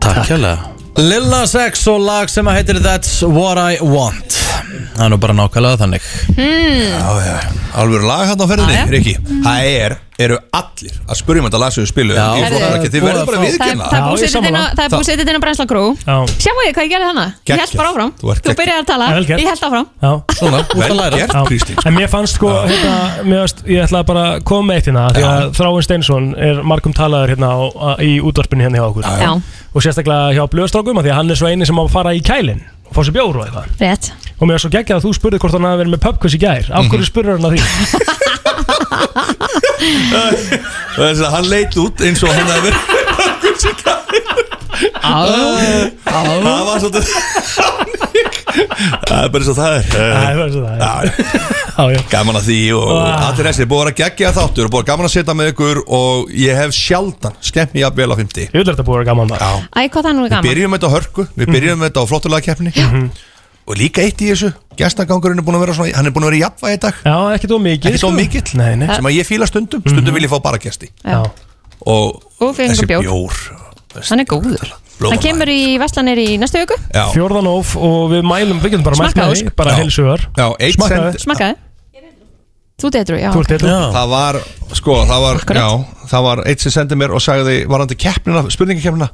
Takk hérlega Lilla Sex og lag sem að heitir That's What I Want Það er nú bara nákvæmlega þannig Hmm. Já, já, alveg lag hérna á ferðinni, Já, já. Riki Það er, eru allir að spurja um þetta lag sem við spilum Ég Herðu, flokka það ekki, Þið verður bara að viðkynna Það er búið setið inn á- það er búið setið inn á brennslan grú Sjáu ég hvað ég gerði þannig Ég held Geggjað. bara áfram Þú ert Þú geggjað. byrjar að tala Vel gert. Ég held áfram Já. Svona, út að læra. Já. En mér fannst sko, hérna, mér fannst, ég ætlaði bara að koma með eitt hérna Því að Þráin Steinsson er margum talaður hérna á, á, í útvarpinu hérna hjá okkur Já. Já. Og sérstaklega hjá blöðstrókum, af því að hann er svo eini sem á að fara í kælinn og fá sér bjóru og eitthvað Rétt Og mér var svo geggjað að þú spurði hvort hann hafi verið með pubquiz í gær Mhm. Af hverju spurður hann að því? Það er þess að hann leit út eins og hann hefur Það var svolítið Það er bara eins og það er Það er bara svo það Já, já. Gaman að því og allir þessi Búið að vera geggja þáttur og búið að gaman að setja með ykkur Og ég hef sjaldan skemmt mér jafnvel á 50 Ég vil þetta búið að vera gaman Mhm. Já Æ, hvað það nú er Við gaman byrjum þetta á hörku, við byrjum þetta á flottulega keppni Og líka eitt í þessu Gestagangurinn er búin að vera svona, hann er búin að vera jafnvæg í dag Já, ekkert of mikið Ekkert of sko. mikill, Nei, nei. Mhm. sem að ég fíla stundum Stundum vil ég fá bara gesti Já. Og, Og fengum þessi bjór. Hann er góður Lofar Hann kemur í Vestlanir í næstu viku Fjórðan of og við mælum, við getum bara mælt með Smakkaðu, því sko. Bara Já. heilsugar Já, eitt Smakkaðu. sent- Smakkaði Þú detur, já Þú ert heitur. Það var, sko, það var, já, það var eitt sem sendið mér og sagði varandi keppnina, spurningakeppnina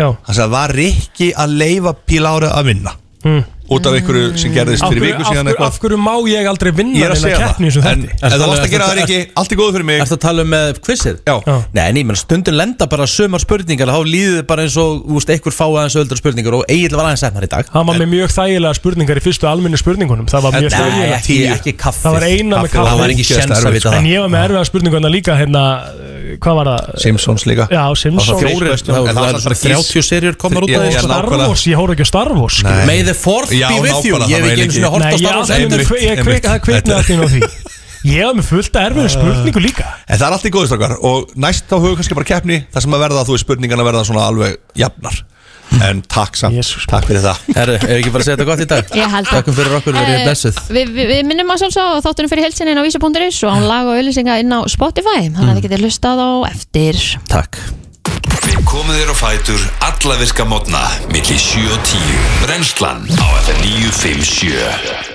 Já Hann sagði, var Rikki að leifa pílárið að vinna Mm. Út af ykkur sem gerðist Af fyrir hverju- viku af síðan hverju- Af eitthvað hverju má ég aldrei vinna Ég er að neina segja það, keppni í þessum en- þætti? En það varst að gera það ekki, allt er góð fyrir mig Ertu að tala um með quizið? Já, Nei, en ég menn stundin lenda bara sömar spurningar Þá líður þið bara eins og, þú veist, einhver fá aðeins öldra spurningar Og eiginlega var aðeins setnar í dag Hann var með mjög þægilega spurningar í fyrstu almennu spurningunum Það var mjög Nei, þægilega ekki- ekki kaffið. Það var eina Kaffið með kaffið var Það var ekki sjens að vita það. En ég var með erfiða spurningarna líka hérna uh, Hvað var það? Simpsons líka Já, Simpsons Fjórir, það var- það var bara 30 serjur komnar út af Og þessu. Star Wars, ég hóru ekki á Star Wars skilur. May the fourth be Já, with you nákvæmlega, Ég hef ekki það væri einu svona hort á Nei, Star Wars ég- enn. ég- ég kveik- það kviknaði allt í einu á því. Ég var með fullt af erfiðum spurningu líka En það er allt í góðu strákar og næst þá höfum við kannski bara keppni þar sem að verða að þú veist spurningana verða svona alveg jafnar En takk samt, takk fyrir það Herru, ef ekki bara að segja þetta gott í dag Ég held það. Takkum fyrir okkur, verið Eh, blessuð Við vi, vi minnum að sjálfsög á þáttunum fyrir helsinni á vísi.is og án lag og auðlýsinga inn á Spotify þannig að þið getið lustað á eftir Takk Við komum þér á fætur alla virka mótna milli 7 og 10 Brennslan á FM 957